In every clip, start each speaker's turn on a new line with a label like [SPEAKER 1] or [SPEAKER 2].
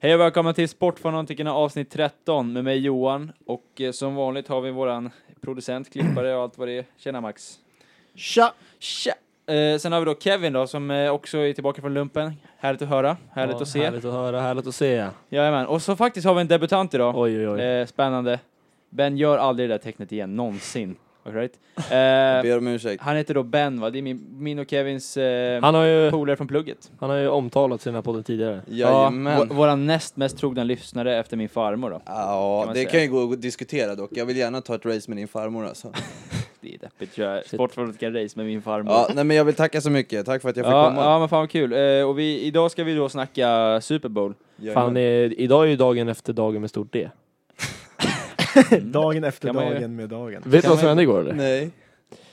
[SPEAKER 1] Hej och välkomna till Sportfanatikerna avsnitt 13 med mig Johan och eh, som vanligt har vi våran producent, klippare och allt vad det är. Tjena Max!
[SPEAKER 2] Tja!
[SPEAKER 1] Tja! Eh, sen har vi då Kevin då som eh, också är tillbaka från lumpen. Härligt att höra, härligt
[SPEAKER 2] Ja,
[SPEAKER 1] att se.
[SPEAKER 2] Härligt att höra, härligt att se.
[SPEAKER 1] Jajamän, och så faktiskt har vi en debutant idag.
[SPEAKER 2] Oj, oj, oj.
[SPEAKER 1] Eh, spännande. Ben gör aldrig det där tecknet igen, någonsin. All right. eh,
[SPEAKER 3] Ber om ursäkt.
[SPEAKER 1] han heter då Ben va, det är min, min och Kevins eh,
[SPEAKER 2] Han har ju,
[SPEAKER 1] polare från plugget.
[SPEAKER 2] han har ju omtalat sina podden tidigare.
[SPEAKER 1] vå-
[SPEAKER 3] Jajamän.
[SPEAKER 1] våran näst mest trogna lyssnare efter min farmor då.
[SPEAKER 3] Ja,
[SPEAKER 1] kan man
[SPEAKER 3] det
[SPEAKER 1] säga.
[SPEAKER 3] kan ju gå att diskutera dock. Jag vill gärna ta ett race med din farmor alltså.
[SPEAKER 1] Det är deppigt att köra sportfanatiker-race med min farmor.
[SPEAKER 3] Ja, nej men jag vill tacka så mycket. Tack för att jag fick
[SPEAKER 1] ja,
[SPEAKER 3] komma.
[SPEAKER 1] ja men fan vad kul. Eh, och vi, idag ska vi då snacka Super Bowl.
[SPEAKER 3] Jajamän.
[SPEAKER 2] Fan, eh, idag är ju dagen efter dagen med stort D.
[SPEAKER 1] Mm.
[SPEAKER 4] Dagen efter
[SPEAKER 1] Kan man ju-
[SPEAKER 4] dagen med dagen.
[SPEAKER 2] Vet du
[SPEAKER 1] Kan
[SPEAKER 2] vad som
[SPEAKER 1] man-
[SPEAKER 2] hände igår eller?
[SPEAKER 3] Nej.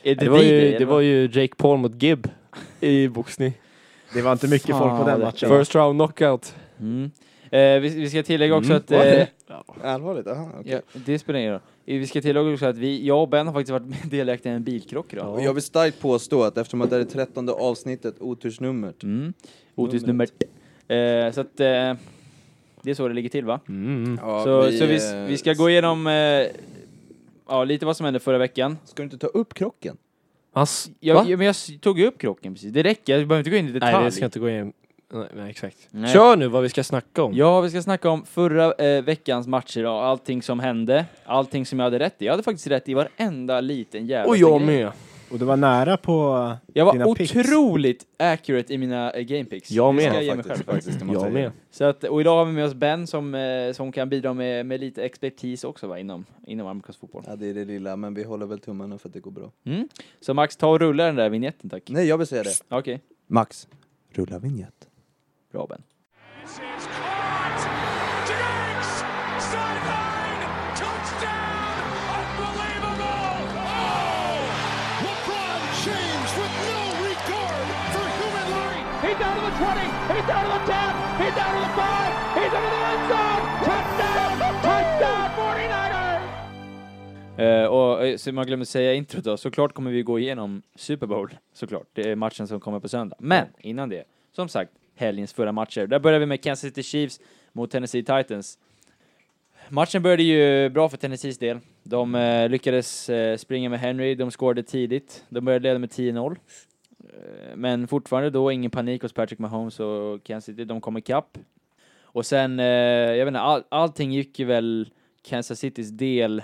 [SPEAKER 1] Är
[SPEAKER 2] Det var,
[SPEAKER 1] vi
[SPEAKER 2] ju,
[SPEAKER 1] eller
[SPEAKER 2] det
[SPEAKER 1] vad?
[SPEAKER 2] var ju Jake Paul mot Gibb i boxning.
[SPEAKER 4] Det var inte mycket
[SPEAKER 1] Fan,
[SPEAKER 4] folk på den
[SPEAKER 1] det-
[SPEAKER 4] matchen.
[SPEAKER 2] First round knockout.
[SPEAKER 1] Mm. Eh, vi, vi ska tillägga också
[SPEAKER 2] Mm,
[SPEAKER 1] att...
[SPEAKER 2] var det?
[SPEAKER 1] Eh,
[SPEAKER 3] Allvarligt? Aha, okej.
[SPEAKER 1] ja, det spelar ingen roll. Eh, Vi ska tillägga också att vi, jag och Ben har faktiskt varit delaktiga i en bilkrock idag.
[SPEAKER 3] Och jag vill starkt påstå att eftersom att det här är trettonde avsnittet, otursnumret.
[SPEAKER 1] Mm. Otursnummer. Eh, så att... Eh, det är så det ligger till va?
[SPEAKER 2] Mm.
[SPEAKER 3] Ja,
[SPEAKER 1] så vi, så vi,
[SPEAKER 3] eh,
[SPEAKER 1] vi ska gå igenom eh, ja, lite vad som hände förra veckan.
[SPEAKER 3] Ska du inte ta upp krocken?
[SPEAKER 2] Han s- Va?
[SPEAKER 1] Jag, jag, men jag s- tog ju upp krocken precis, det räcker, jag behöver inte gå in i detalj.
[SPEAKER 2] Nej, det ska inte gå in. Nej, nej exakt.
[SPEAKER 1] Nej.
[SPEAKER 2] Kör nu vad vi ska snacka om.
[SPEAKER 1] Ja, vi ska snacka om förra eh, veckans matcher och allting som hände, allting som jag hade rätt i. Jag hade faktiskt rätt i varenda liten jävla
[SPEAKER 2] Och jag
[SPEAKER 1] grej.
[SPEAKER 2] med.
[SPEAKER 4] Och det var nära på...
[SPEAKER 1] Jag var
[SPEAKER 4] Dina picks.
[SPEAKER 1] otroligt accurate i mina eh, game picks.
[SPEAKER 2] Jag
[SPEAKER 1] Det
[SPEAKER 2] med.
[SPEAKER 1] ska jag
[SPEAKER 3] Ja,
[SPEAKER 1] ge mig själv.
[SPEAKER 3] faktiskt det måste
[SPEAKER 2] Jag
[SPEAKER 3] säga.
[SPEAKER 2] med.
[SPEAKER 1] Så att, och idag har vi med oss Ben som, eh, som kan bidra med, med lite expertis också va, inom, inom amerikansk fotboll.
[SPEAKER 3] Ja, det är det lilla, men vi håller väl tummarna för att det går bra.
[SPEAKER 1] Mm. Så Max, ta och rulla den där vignetten tack.
[SPEAKER 3] Nej, jag vill säga det.
[SPEAKER 1] Okej,
[SPEAKER 3] Max, rulla vignett.
[SPEAKER 1] bra Ben.
[SPEAKER 5] This is caught. Diggs! Sideline! Touchdown! Unbelievable! Oh! LeBron James with no regard for human life! He's down to the 20! He's down to the 10! He's down to the 5! He's into the end zone! Touchdown! Touchdown! 49ers!
[SPEAKER 1] Eh, och eh, som jag glömde säga i introt då, såklart kommer vi gå igenom Super Bowl, såklart. Det är matchen som kommer på söndag. Men innan det, som sagt, helgens förra matcher. Där börjar vi med Kansas City Chiefs mot Tennessee Titans. Matchen började ju bra för Tennessees del. De eh, lyckades eh, springa med Henry, de scorade tidigt. De började leda med 10-0. Eh, Men fortfarande då ingen panik hos Patrick Mahomes och Kansas City, de kom ikapp. Och sen, eh, jag vet inte, all, allting gick ju väl Kansas Citys del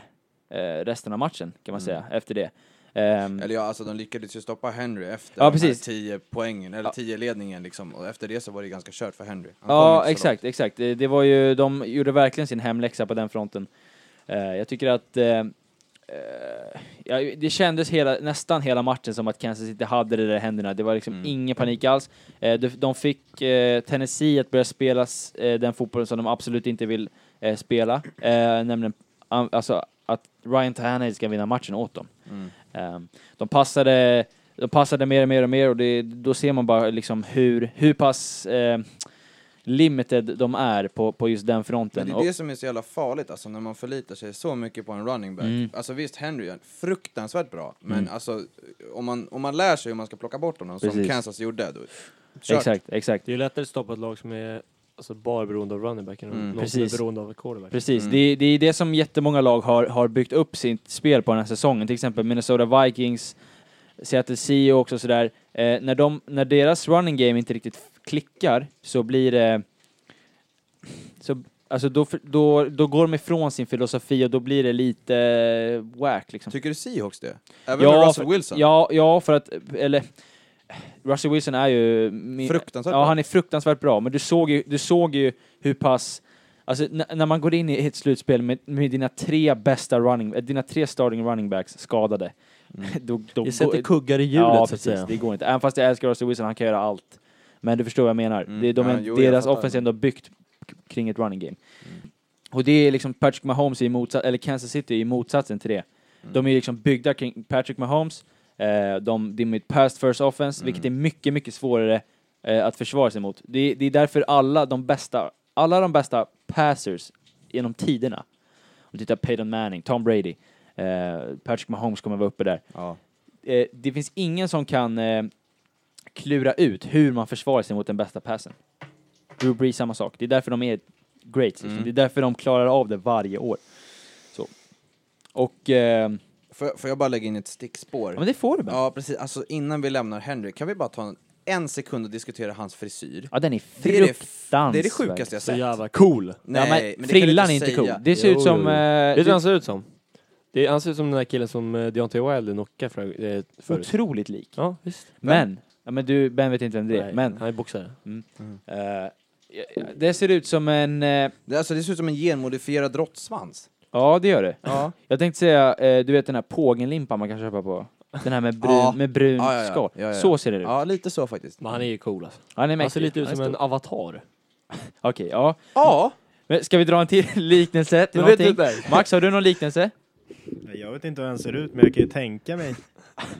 [SPEAKER 1] eh, resten av matchen kan man säga efter det. Ehm,
[SPEAKER 3] Eller ja, alltså de lyckades ju stoppa Henry efter
[SPEAKER 1] Ja,
[SPEAKER 3] de här
[SPEAKER 1] precis.
[SPEAKER 3] 10 poängen, eller
[SPEAKER 1] Ja.
[SPEAKER 3] 10 ledningen liksom. Och efter det så var det ganska kört för Henry. Han kom
[SPEAKER 1] ja,
[SPEAKER 3] inte så
[SPEAKER 1] exakt, exakt. Eh, Det var ju, de gjorde verkligen sin hemläxa på den fronten. Eh, jag tycker att eh, eh, ja, det kändes hela, nästan hela matchen som att Kansas City hade det där i händerna. Det var liksom
[SPEAKER 3] Mm.
[SPEAKER 1] ingen panik alls. Eh, de, de fick eh, Tennessee att börja spela s- eh, den fotbollen som de absolut inte vill eh, spela, eh, nämligen an- alltså, att Ryan Tannehill ska vinna matchen åt dem.
[SPEAKER 3] Mm.
[SPEAKER 1] Ehm, De passade, de passade mer och mer och mer och det, då ser man bara liksom hur, hur pass eh, limited de är på, på just den
[SPEAKER 3] Men
[SPEAKER 1] fronten.
[SPEAKER 3] det är
[SPEAKER 1] Och-
[SPEAKER 3] det som är så jävla farligt, alltså när man förlitar sig så mycket på en running back.
[SPEAKER 1] Mm.
[SPEAKER 3] Alltså visst, Henry är fruktansvärt bra, men
[SPEAKER 1] Mm.
[SPEAKER 3] alltså om man, om man lär sig hur man ska plocka bort honom, som
[SPEAKER 1] Precis.
[SPEAKER 3] Kansas gjorde, då... Kört.
[SPEAKER 1] Exakt, exakt.
[SPEAKER 2] Det är ju lättare att stoppa ett lag som är alltså, bara beroende av running backen
[SPEAKER 3] Mm.
[SPEAKER 2] än lag som är
[SPEAKER 1] Precis.
[SPEAKER 2] beroende av quarterback.
[SPEAKER 1] Precis,
[SPEAKER 3] Mm.
[SPEAKER 1] det, det är det som jättemånga lag har, har byggt upp sitt spel på den här säsongen. Till exempel Minnesota Vikings, Seattle Seahawks och sådär. Eh, när, de, när deras running game inte riktigt f- klickar så blir det... Så, alltså då, f- då, då går de ifrån sin filosofi och då blir det lite eh, whack liksom.
[SPEAKER 3] Tycker du Seahawks det? Även
[SPEAKER 1] Ja,
[SPEAKER 3] med Russell
[SPEAKER 1] för-
[SPEAKER 3] Wilson?
[SPEAKER 1] Ja, ja, för att, eller, Russell Wilson är ju... min-
[SPEAKER 3] Fruktansvärt
[SPEAKER 1] Ja,
[SPEAKER 3] bra.
[SPEAKER 1] han är fruktansvärt bra, men du såg ju, du såg ju hur pass, alltså n- när man går in i ett slutspel med, med dina tre bästa running, eh, dina tre starting running backs skadade,
[SPEAKER 3] Mm.
[SPEAKER 1] då, då
[SPEAKER 2] Det sätter
[SPEAKER 1] går-
[SPEAKER 2] kuggar i hjulet
[SPEAKER 1] ja,
[SPEAKER 2] så att
[SPEAKER 1] precis,
[SPEAKER 2] säga.
[SPEAKER 1] det går inte. Även fast jag älskar Russell Wilson, han kan göra allt. Men du förstår vad jag menar.
[SPEAKER 3] Mm.
[SPEAKER 1] Det, de,
[SPEAKER 3] Ja,
[SPEAKER 1] är-
[SPEAKER 3] jo, jag
[SPEAKER 1] deras
[SPEAKER 3] fattar. Mm.
[SPEAKER 1] offensiv är ändå byggt k- kring ett running game. Och det är liksom Patrick Mahomes i motsats, eller Kansas City i motsatsen till det.
[SPEAKER 3] Mm.
[SPEAKER 1] De är ju liksom byggda kring Patrick Mahomes, eh, de, det är mitt past first offense, vilket
[SPEAKER 3] Mm.
[SPEAKER 1] är mycket, mycket svårare eh, att försvara sig mot. Det, är- det är därför alla de bästa, alla de bästa passers genom tiderna, om du tittar Peyton Manning, Tom Brady, eh, Patrick Mahomes kommer vara uppe där
[SPEAKER 3] Ja.
[SPEAKER 1] eh, det finns ingen som kan eh, klura ut hur man försvarar sig mot den bästa passen. Drew Brees samma sak. Det är därför de är great season.
[SPEAKER 3] Mm.
[SPEAKER 1] Det är därför de klarar av det varje år. Så. Och... Eh,
[SPEAKER 3] Får, får jag bara lägga in ett stickspår?
[SPEAKER 1] ja, men det får du bara. Ja.
[SPEAKER 3] Ja, precis. Alltså innan vi lämnar Henry, kan vi bara ta en, en sekund och diskutera hans frisyr?
[SPEAKER 1] den är
[SPEAKER 3] Det är det,
[SPEAKER 1] fruktansvärd.
[SPEAKER 3] det, är det sjukaste jag
[SPEAKER 2] Så
[SPEAKER 3] sett.
[SPEAKER 2] jävla cool.
[SPEAKER 1] Nej, ja, men,
[SPEAKER 3] men det kan du
[SPEAKER 1] frillan
[SPEAKER 3] inte
[SPEAKER 1] är inte
[SPEAKER 3] säga.
[SPEAKER 1] cool. Det ser
[SPEAKER 2] Jo,
[SPEAKER 1] ut som...
[SPEAKER 2] jo, jo.
[SPEAKER 1] Eh,
[SPEAKER 2] Vet du vad han
[SPEAKER 1] det
[SPEAKER 2] ser ut som? Det är, han ser ut som den där killen som eh, Deontay Wilder knockade för, eh,
[SPEAKER 1] är
[SPEAKER 2] förut.
[SPEAKER 1] otroligt lik.
[SPEAKER 2] Ja, visst.
[SPEAKER 1] Men, ja, men du, Ben vet inte vem det är,
[SPEAKER 2] Nej,
[SPEAKER 1] men...
[SPEAKER 2] Han är boxare.
[SPEAKER 1] eh, ja, det ser ut som en... Eh,
[SPEAKER 3] Det, alltså, det ser ut som en genmodifierad råttsvans.
[SPEAKER 1] ja, det gör det.
[SPEAKER 3] Ja.
[SPEAKER 1] Jag tänkte säga, eh, du vet den här pågenlimpan man kan köpa på? Den här med, brun,
[SPEAKER 3] Ja.
[SPEAKER 1] med brunt
[SPEAKER 3] Ja, ja, ja.
[SPEAKER 1] skal.
[SPEAKER 3] Ja, ja.
[SPEAKER 1] Så ser det ut.
[SPEAKER 3] ja, lite så faktiskt.
[SPEAKER 2] Men han är ju cool alltså.
[SPEAKER 1] Han är mäktig.
[SPEAKER 2] Han ser lite ut
[SPEAKER 1] Han är
[SPEAKER 2] som en
[SPEAKER 1] stor.
[SPEAKER 2] avatar.
[SPEAKER 1] Okej, ja.
[SPEAKER 3] Ja,
[SPEAKER 1] Men ska vi dra en till liknelse till
[SPEAKER 2] Men vet du
[SPEAKER 1] någonting? Max, har du någon liknelse?
[SPEAKER 4] Jag vet inte hur han ser ut, men jag kan ju tänka mig.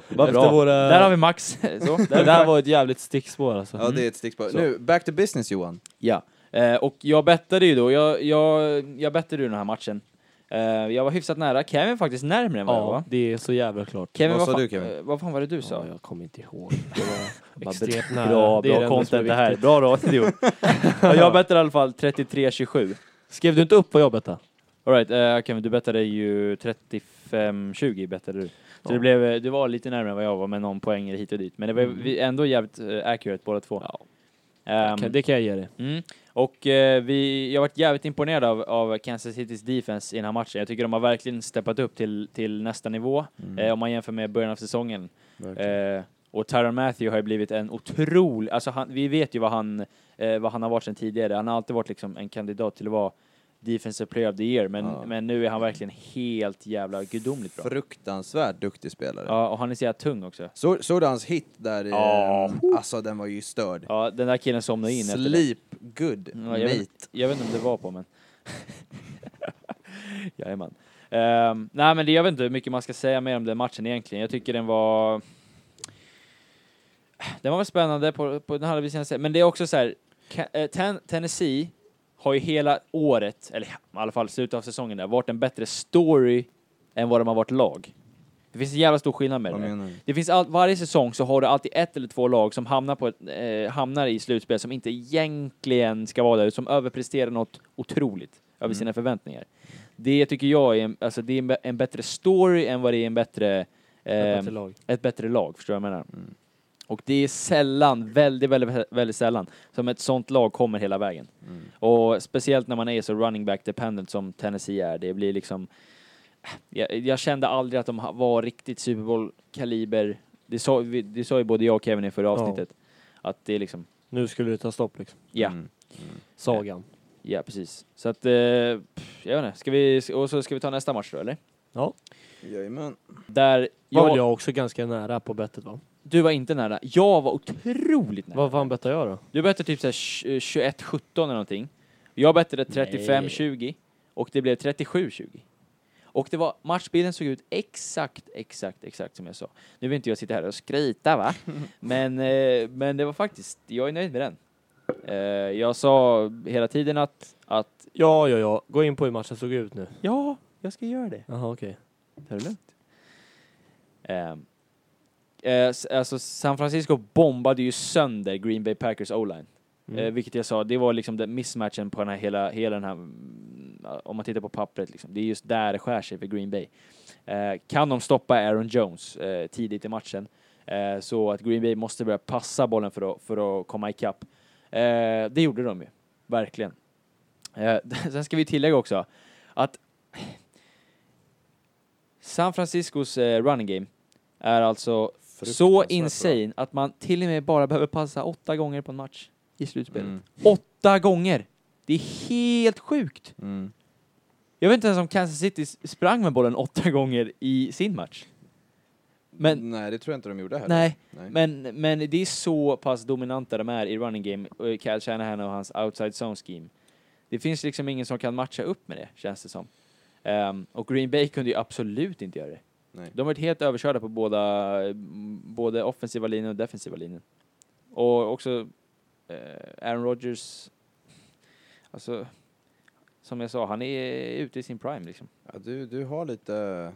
[SPEAKER 1] Vad
[SPEAKER 2] Efter
[SPEAKER 1] bra.
[SPEAKER 2] våra-
[SPEAKER 1] Där har vi Max. Så,
[SPEAKER 2] Det
[SPEAKER 1] där,
[SPEAKER 2] där
[SPEAKER 1] där var...
[SPEAKER 2] var ett jävligt stickspår alltså.
[SPEAKER 3] ja det är ett stickspår.
[SPEAKER 1] Mm. Så.
[SPEAKER 3] Nu, back to business Johan.
[SPEAKER 1] Ja. Eh, och jag bettade ju då, jag, jag, jag bettade ju den här matchen. Eh, jag var hyfsat nära, Kevin faktiskt närmre än vad jag var.
[SPEAKER 2] Ja, det är så jävla klart.
[SPEAKER 1] Kevin,
[SPEAKER 3] Vad sa
[SPEAKER 1] fan-
[SPEAKER 3] du, Kevin?
[SPEAKER 1] eh, vad fan var det du sa?
[SPEAKER 2] Ja, jag kommer inte ihåg. Det var
[SPEAKER 1] Bara
[SPEAKER 2] extremt
[SPEAKER 1] bet-
[SPEAKER 2] nära.
[SPEAKER 1] Bra,
[SPEAKER 2] Det är
[SPEAKER 1] bra
[SPEAKER 2] det enda som är
[SPEAKER 1] content det här.
[SPEAKER 2] viktigt.
[SPEAKER 1] Bra radio. ja, jag bettade i alla fall 33-27.
[SPEAKER 2] Skrev du inte upp vad jag bettade?
[SPEAKER 1] Alright, uh, Kevin, du bettade ju 35-20 bettade du. Så
[SPEAKER 2] Ja.
[SPEAKER 1] det blev, eh, du var lite närmare än vad jag var med någon poäng hit och dit. Men det var
[SPEAKER 2] Mm.
[SPEAKER 1] vi ändå jävligt uh, accurate båda två.
[SPEAKER 2] Ja.
[SPEAKER 1] Ehm,
[SPEAKER 2] Kan- Det kan jag ge dig.
[SPEAKER 1] mm. Och eh, vi, jag varit jävligt imponerad av, av Kansas Citys defense i den här matchen. Jag tycker de har verkligen steppat upp till, till nästa nivå eh, om man jämför med början av säsongen. Eh, och Tyron Matthew har ju blivit en otrolig, alltså han, vi vet ju vad han, eh, vad han har varit sedan tidigare. Han har alltid varit liksom en kandidat till att vara defensive player of the year, men,
[SPEAKER 3] Ja.
[SPEAKER 1] men nu är han verkligen helt jävla gudomligt bra.
[SPEAKER 3] Fruktansvärt duktig spelare.
[SPEAKER 1] Ja, och han är så jävla tung också.
[SPEAKER 3] Så, såg du hans hit där? eh,
[SPEAKER 1] Ja.
[SPEAKER 3] Alltså den var ju störd.
[SPEAKER 1] Ja, den där killen somnade in efter det.
[SPEAKER 3] Sleep good
[SPEAKER 1] Ja, jag,
[SPEAKER 3] mate.
[SPEAKER 1] vet, jag vet inte om det var på, men... Jajamän. Um, nej, men det, jag vet inte hur mycket man ska säga mer om den matchen egentligen. Jag tycker den var... Den var väl spännande på, på den hade vi sen men det är också så här, Ka- eh, ten, Tennessee har ju hela året, eller i alla fall slutet av säsongen där, varit en bättre story än vad de har varit lag. Det finns en jävla stor skillnad med
[SPEAKER 3] Vad
[SPEAKER 1] det.
[SPEAKER 3] menar du?
[SPEAKER 1] Det finns all, varje säsong så har du alltid ett eller två lag som hamnar, på ett, eh, hamnar i slutspel som inte egentligen ska vara där, som överpresterar något otroligt över sina förväntningar. Det tycker jag är, en, alltså, det är en, bä- en bättre story än vad det är en bättre,
[SPEAKER 2] Jag
[SPEAKER 1] eh,
[SPEAKER 2] bettade lag.
[SPEAKER 1] ett bättre lag, förstår du vad jag menar? Och det är sällan, väldigt, väldigt, väldigt sällan, som ett sånt lag kommer hela vägen. Och speciellt när man är så running back dependent som Tennessee är, det blir liksom... Jag, jag kände aldrig att de ha- var riktigt Super Bowl-kaliber. Det sa, vi- det sa ju både jag och Kevin i förra
[SPEAKER 2] Ja.
[SPEAKER 1] avsnittet. Att det är liksom,
[SPEAKER 2] Nu skulle det ta stopp liksom.
[SPEAKER 1] ja,
[SPEAKER 3] Mm.
[SPEAKER 2] Sagan.
[SPEAKER 1] ja precis. Så att, eh, pff, jag vet inte, ska vi, och så ska vi ta nästa match då eller?
[SPEAKER 2] Ja.
[SPEAKER 3] Jajamän.
[SPEAKER 1] Där,
[SPEAKER 2] Var väl
[SPEAKER 1] jag,
[SPEAKER 2] jag också ganska nära på bettet va?
[SPEAKER 1] du var inte nära, jag var otroligt nära.
[SPEAKER 2] Vad fan bettade jag då?
[SPEAKER 1] Du bettade typ såhär 21-17 eller någonting. Jag bettade 35-20 och det blev 37-20. Och det var, matchbilden såg ut exakt, exakt, exakt som jag sa. Nu vill inte jag sitta här och skryta va? Men, eh, men det var faktiskt, jag är nöjd med den. Eh, jag sa hela tiden att, att
[SPEAKER 2] Ja, ja, ja. Gå in på hur matchen såg ut nu.
[SPEAKER 1] ja, jag ska göra det.
[SPEAKER 2] Jaha, okej.
[SPEAKER 1] Ta det lugnt. Ehm, eh, s- alltså San Francisco bombade ju sönder Green Bay Packers O-line.
[SPEAKER 2] Mm.
[SPEAKER 1] Eh, vilket jag sa, det var liksom den mismatchen på den här hela, hela den här, mm, om man tittar på pappret liksom, det är just där det skär sig för Green Bay. Eh, kan de stoppa Aaron Jones eh, tidigt i matchen, eh, så att Green Bay måste börja passa bollen för att, för att komma ikapp. Eh, det gjorde de ju, verkligen. Eh, sen ska vi tillägga också att San Franciscos eh, running game är alltså så
[SPEAKER 3] Fruktansvärt bra. Mm.
[SPEAKER 1] insane att man till och med bara behöver passa åtta gånger på en match i slutspelet.
[SPEAKER 3] Mm.
[SPEAKER 1] Åtta gånger! Det är helt sjukt!
[SPEAKER 3] Mm.
[SPEAKER 1] Jag vet inte ens om Kansas City s- sprang med bollen åtta gånger i sin match. Men,
[SPEAKER 3] Nej, det tror jag inte de gjorde heller.
[SPEAKER 1] nej,
[SPEAKER 3] Nej.
[SPEAKER 1] men, men det är så pass dominanta de är i running game, och Cal Shanahan och hans outside zone scheme. Det finns liksom ingen som kan matcha upp med det, känns det som. Ehm, och Green Bay kunde ju absolut inte göra det.
[SPEAKER 3] Nej.
[SPEAKER 1] De har varit helt överkörda på båda, m, både offensiva linjen och defensiva linjen. Och också eh, Aaron Rodgers, alltså, som jag sa, han är ute i sin prime liksom.
[SPEAKER 3] Ja, du, du har lite...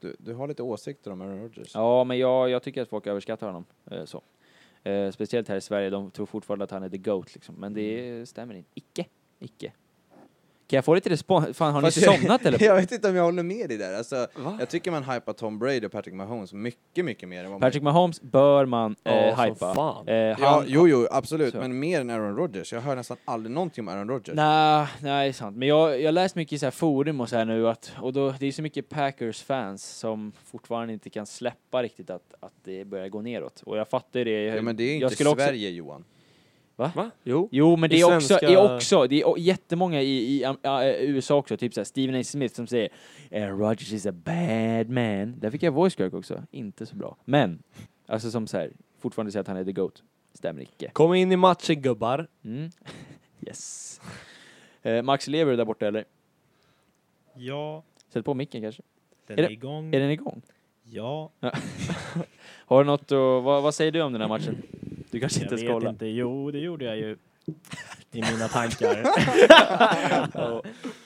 [SPEAKER 3] Du, du har lite åsikter om Aaron Rodgers.
[SPEAKER 1] Ja, men jag, jag tycker att folk överskattar honom. Eh, så. Eh,
[SPEAKER 3] Mm.
[SPEAKER 1] speciellt här i Sverige, de tror fortfarande att han är the GOAT liksom. Men det stämmer inte. Icke. Icke. Kan jag få lite respons? Fan, har ni
[SPEAKER 3] Fast jag-
[SPEAKER 1] somnat eller? Ah.
[SPEAKER 3] jag vet inte om jag håller med dig där. Alltså,
[SPEAKER 2] Va?
[SPEAKER 3] jag tycker man hypar Tom Brady och Patrick Mahomes mycket, mycket mer än vad man...
[SPEAKER 1] Patrick Mahomes bör man eh,
[SPEAKER 2] Ja, som
[SPEAKER 1] hypa.
[SPEAKER 2] fan.
[SPEAKER 1] Eh,
[SPEAKER 3] ja,
[SPEAKER 1] han,
[SPEAKER 3] jo, jo, absolut.
[SPEAKER 1] Så.
[SPEAKER 3] Men mer än Aaron Rodgers. Jag hör nästan aldrig någonting om Aaron Rodgers.
[SPEAKER 1] Nej, nej, sant. Men jag jag har läst mycket i så här forum och så här nu att, och då, det är så mycket Packers-fans som fortfarande inte kan släppa riktigt att, att det börjar gå neråt. Och jag fattar ju det.
[SPEAKER 3] Ja, men det är ju
[SPEAKER 1] jag
[SPEAKER 3] inte
[SPEAKER 1] skulle också-
[SPEAKER 3] Sverige, Johan.
[SPEAKER 2] Va? Jo.
[SPEAKER 1] Jo, men det
[SPEAKER 2] I
[SPEAKER 1] är, också,
[SPEAKER 2] svenska-
[SPEAKER 1] det är också, det är o- jättemånga i, i am- ja, eh, USA också, typ såhär Steven A. Smith som säger Aaron Rodgers is a bad man. Där fick jag voice crack också, inte så bra. Men, alltså som såhär, fortfarande säger att han är the GOAT. Stämmer icke.
[SPEAKER 2] Kom in i matchen gubbar.
[SPEAKER 1] Mm. Yes. Eh, Max, lever du där borta eller?
[SPEAKER 4] Ja,
[SPEAKER 1] Sätt på micken kanske.
[SPEAKER 4] den
[SPEAKER 1] Är
[SPEAKER 4] är,
[SPEAKER 1] det-
[SPEAKER 4] igång.
[SPEAKER 1] Är den igång?
[SPEAKER 4] Ja,
[SPEAKER 1] Har du något att, vad, vad säger du om den här matchen? Du kanske
[SPEAKER 4] jag
[SPEAKER 1] inte
[SPEAKER 4] vet
[SPEAKER 1] ska kolla?
[SPEAKER 4] inte. Jo, det gjorde jag ju. I mina tankar.
[SPEAKER 1] Ja,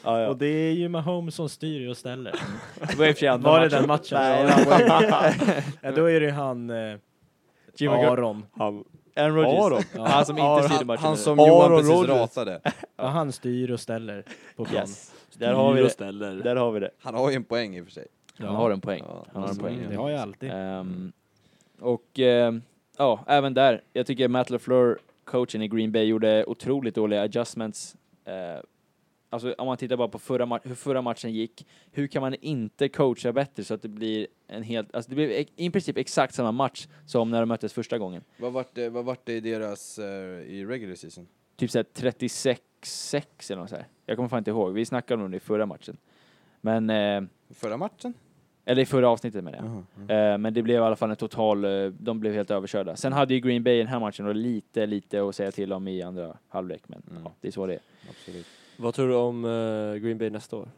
[SPEAKER 1] ja.
[SPEAKER 4] Och det är ju Mahomes som styr och ställer.
[SPEAKER 1] Det var i och för sig andra
[SPEAKER 4] Var det
[SPEAKER 1] matchen.
[SPEAKER 4] den matchen?
[SPEAKER 1] Nej,
[SPEAKER 4] Ja, det var ju- ja, då är det han eh,
[SPEAKER 1] Jimmy Gar-
[SPEAKER 4] Aron.
[SPEAKER 2] Han,
[SPEAKER 1] Aaron Rodgers. Han som inte styrde
[SPEAKER 3] Han,
[SPEAKER 1] matchen.
[SPEAKER 3] han som
[SPEAKER 2] Aaron
[SPEAKER 3] Johan precis
[SPEAKER 2] Rodgers.
[SPEAKER 3] ratade.
[SPEAKER 4] Ja, han styr och ställer på plan.
[SPEAKER 1] Yes. Där har vi
[SPEAKER 2] Styr och
[SPEAKER 1] det.
[SPEAKER 2] ställer.
[SPEAKER 1] Där har vi det.
[SPEAKER 3] Han har ju en poäng i och för sig.
[SPEAKER 1] Han har en poäng.
[SPEAKER 3] Ja,
[SPEAKER 1] Han har en
[SPEAKER 3] så
[SPEAKER 1] poäng.
[SPEAKER 3] är
[SPEAKER 4] Det har jag alltid.
[SPEAKER 1] Ehm, och ehm, ja, även där. Jag tycker Matt LaFleur, coachen i Green Bay, gjorde otroligt dåliga adjustments. Eh, alltså om man tittar bara på förra ma- hur förra matchen gick, hur kan man inte coacha bättre så att det blir en helt, alltså det blev e- i princip exakt samma match som när de möttes första gången.
[SPEAKER 3] Vad vart det, vad vart det i deras, eh, i regular season?
[SPEAKER 1] Typ såhär 36-6 eller något så här. Jag kommer fan inte ihåg, vi snackade om det i förra matchen. Men, eh,
[SPEAKER 3] Förra matchen?
[SPEAKER 1] eller i förra avsnittet menar jag.
[SPEAKER 3] Jaha.
[SPEAKER 1] Eh, Men det blev i alla fall en total, eh, de blev helt överkörda. Sen hade ju Green Bay i den här matchen och lite, lite att säga till om i andra halvlek, men
[SPEAKER 3] Mm.
[SPEAKER 1] ja, det är så det är.
[SPEAKER 3] Absolut.
[SPEAKER 2] Vad tror du om eh, Green Bay nästa år?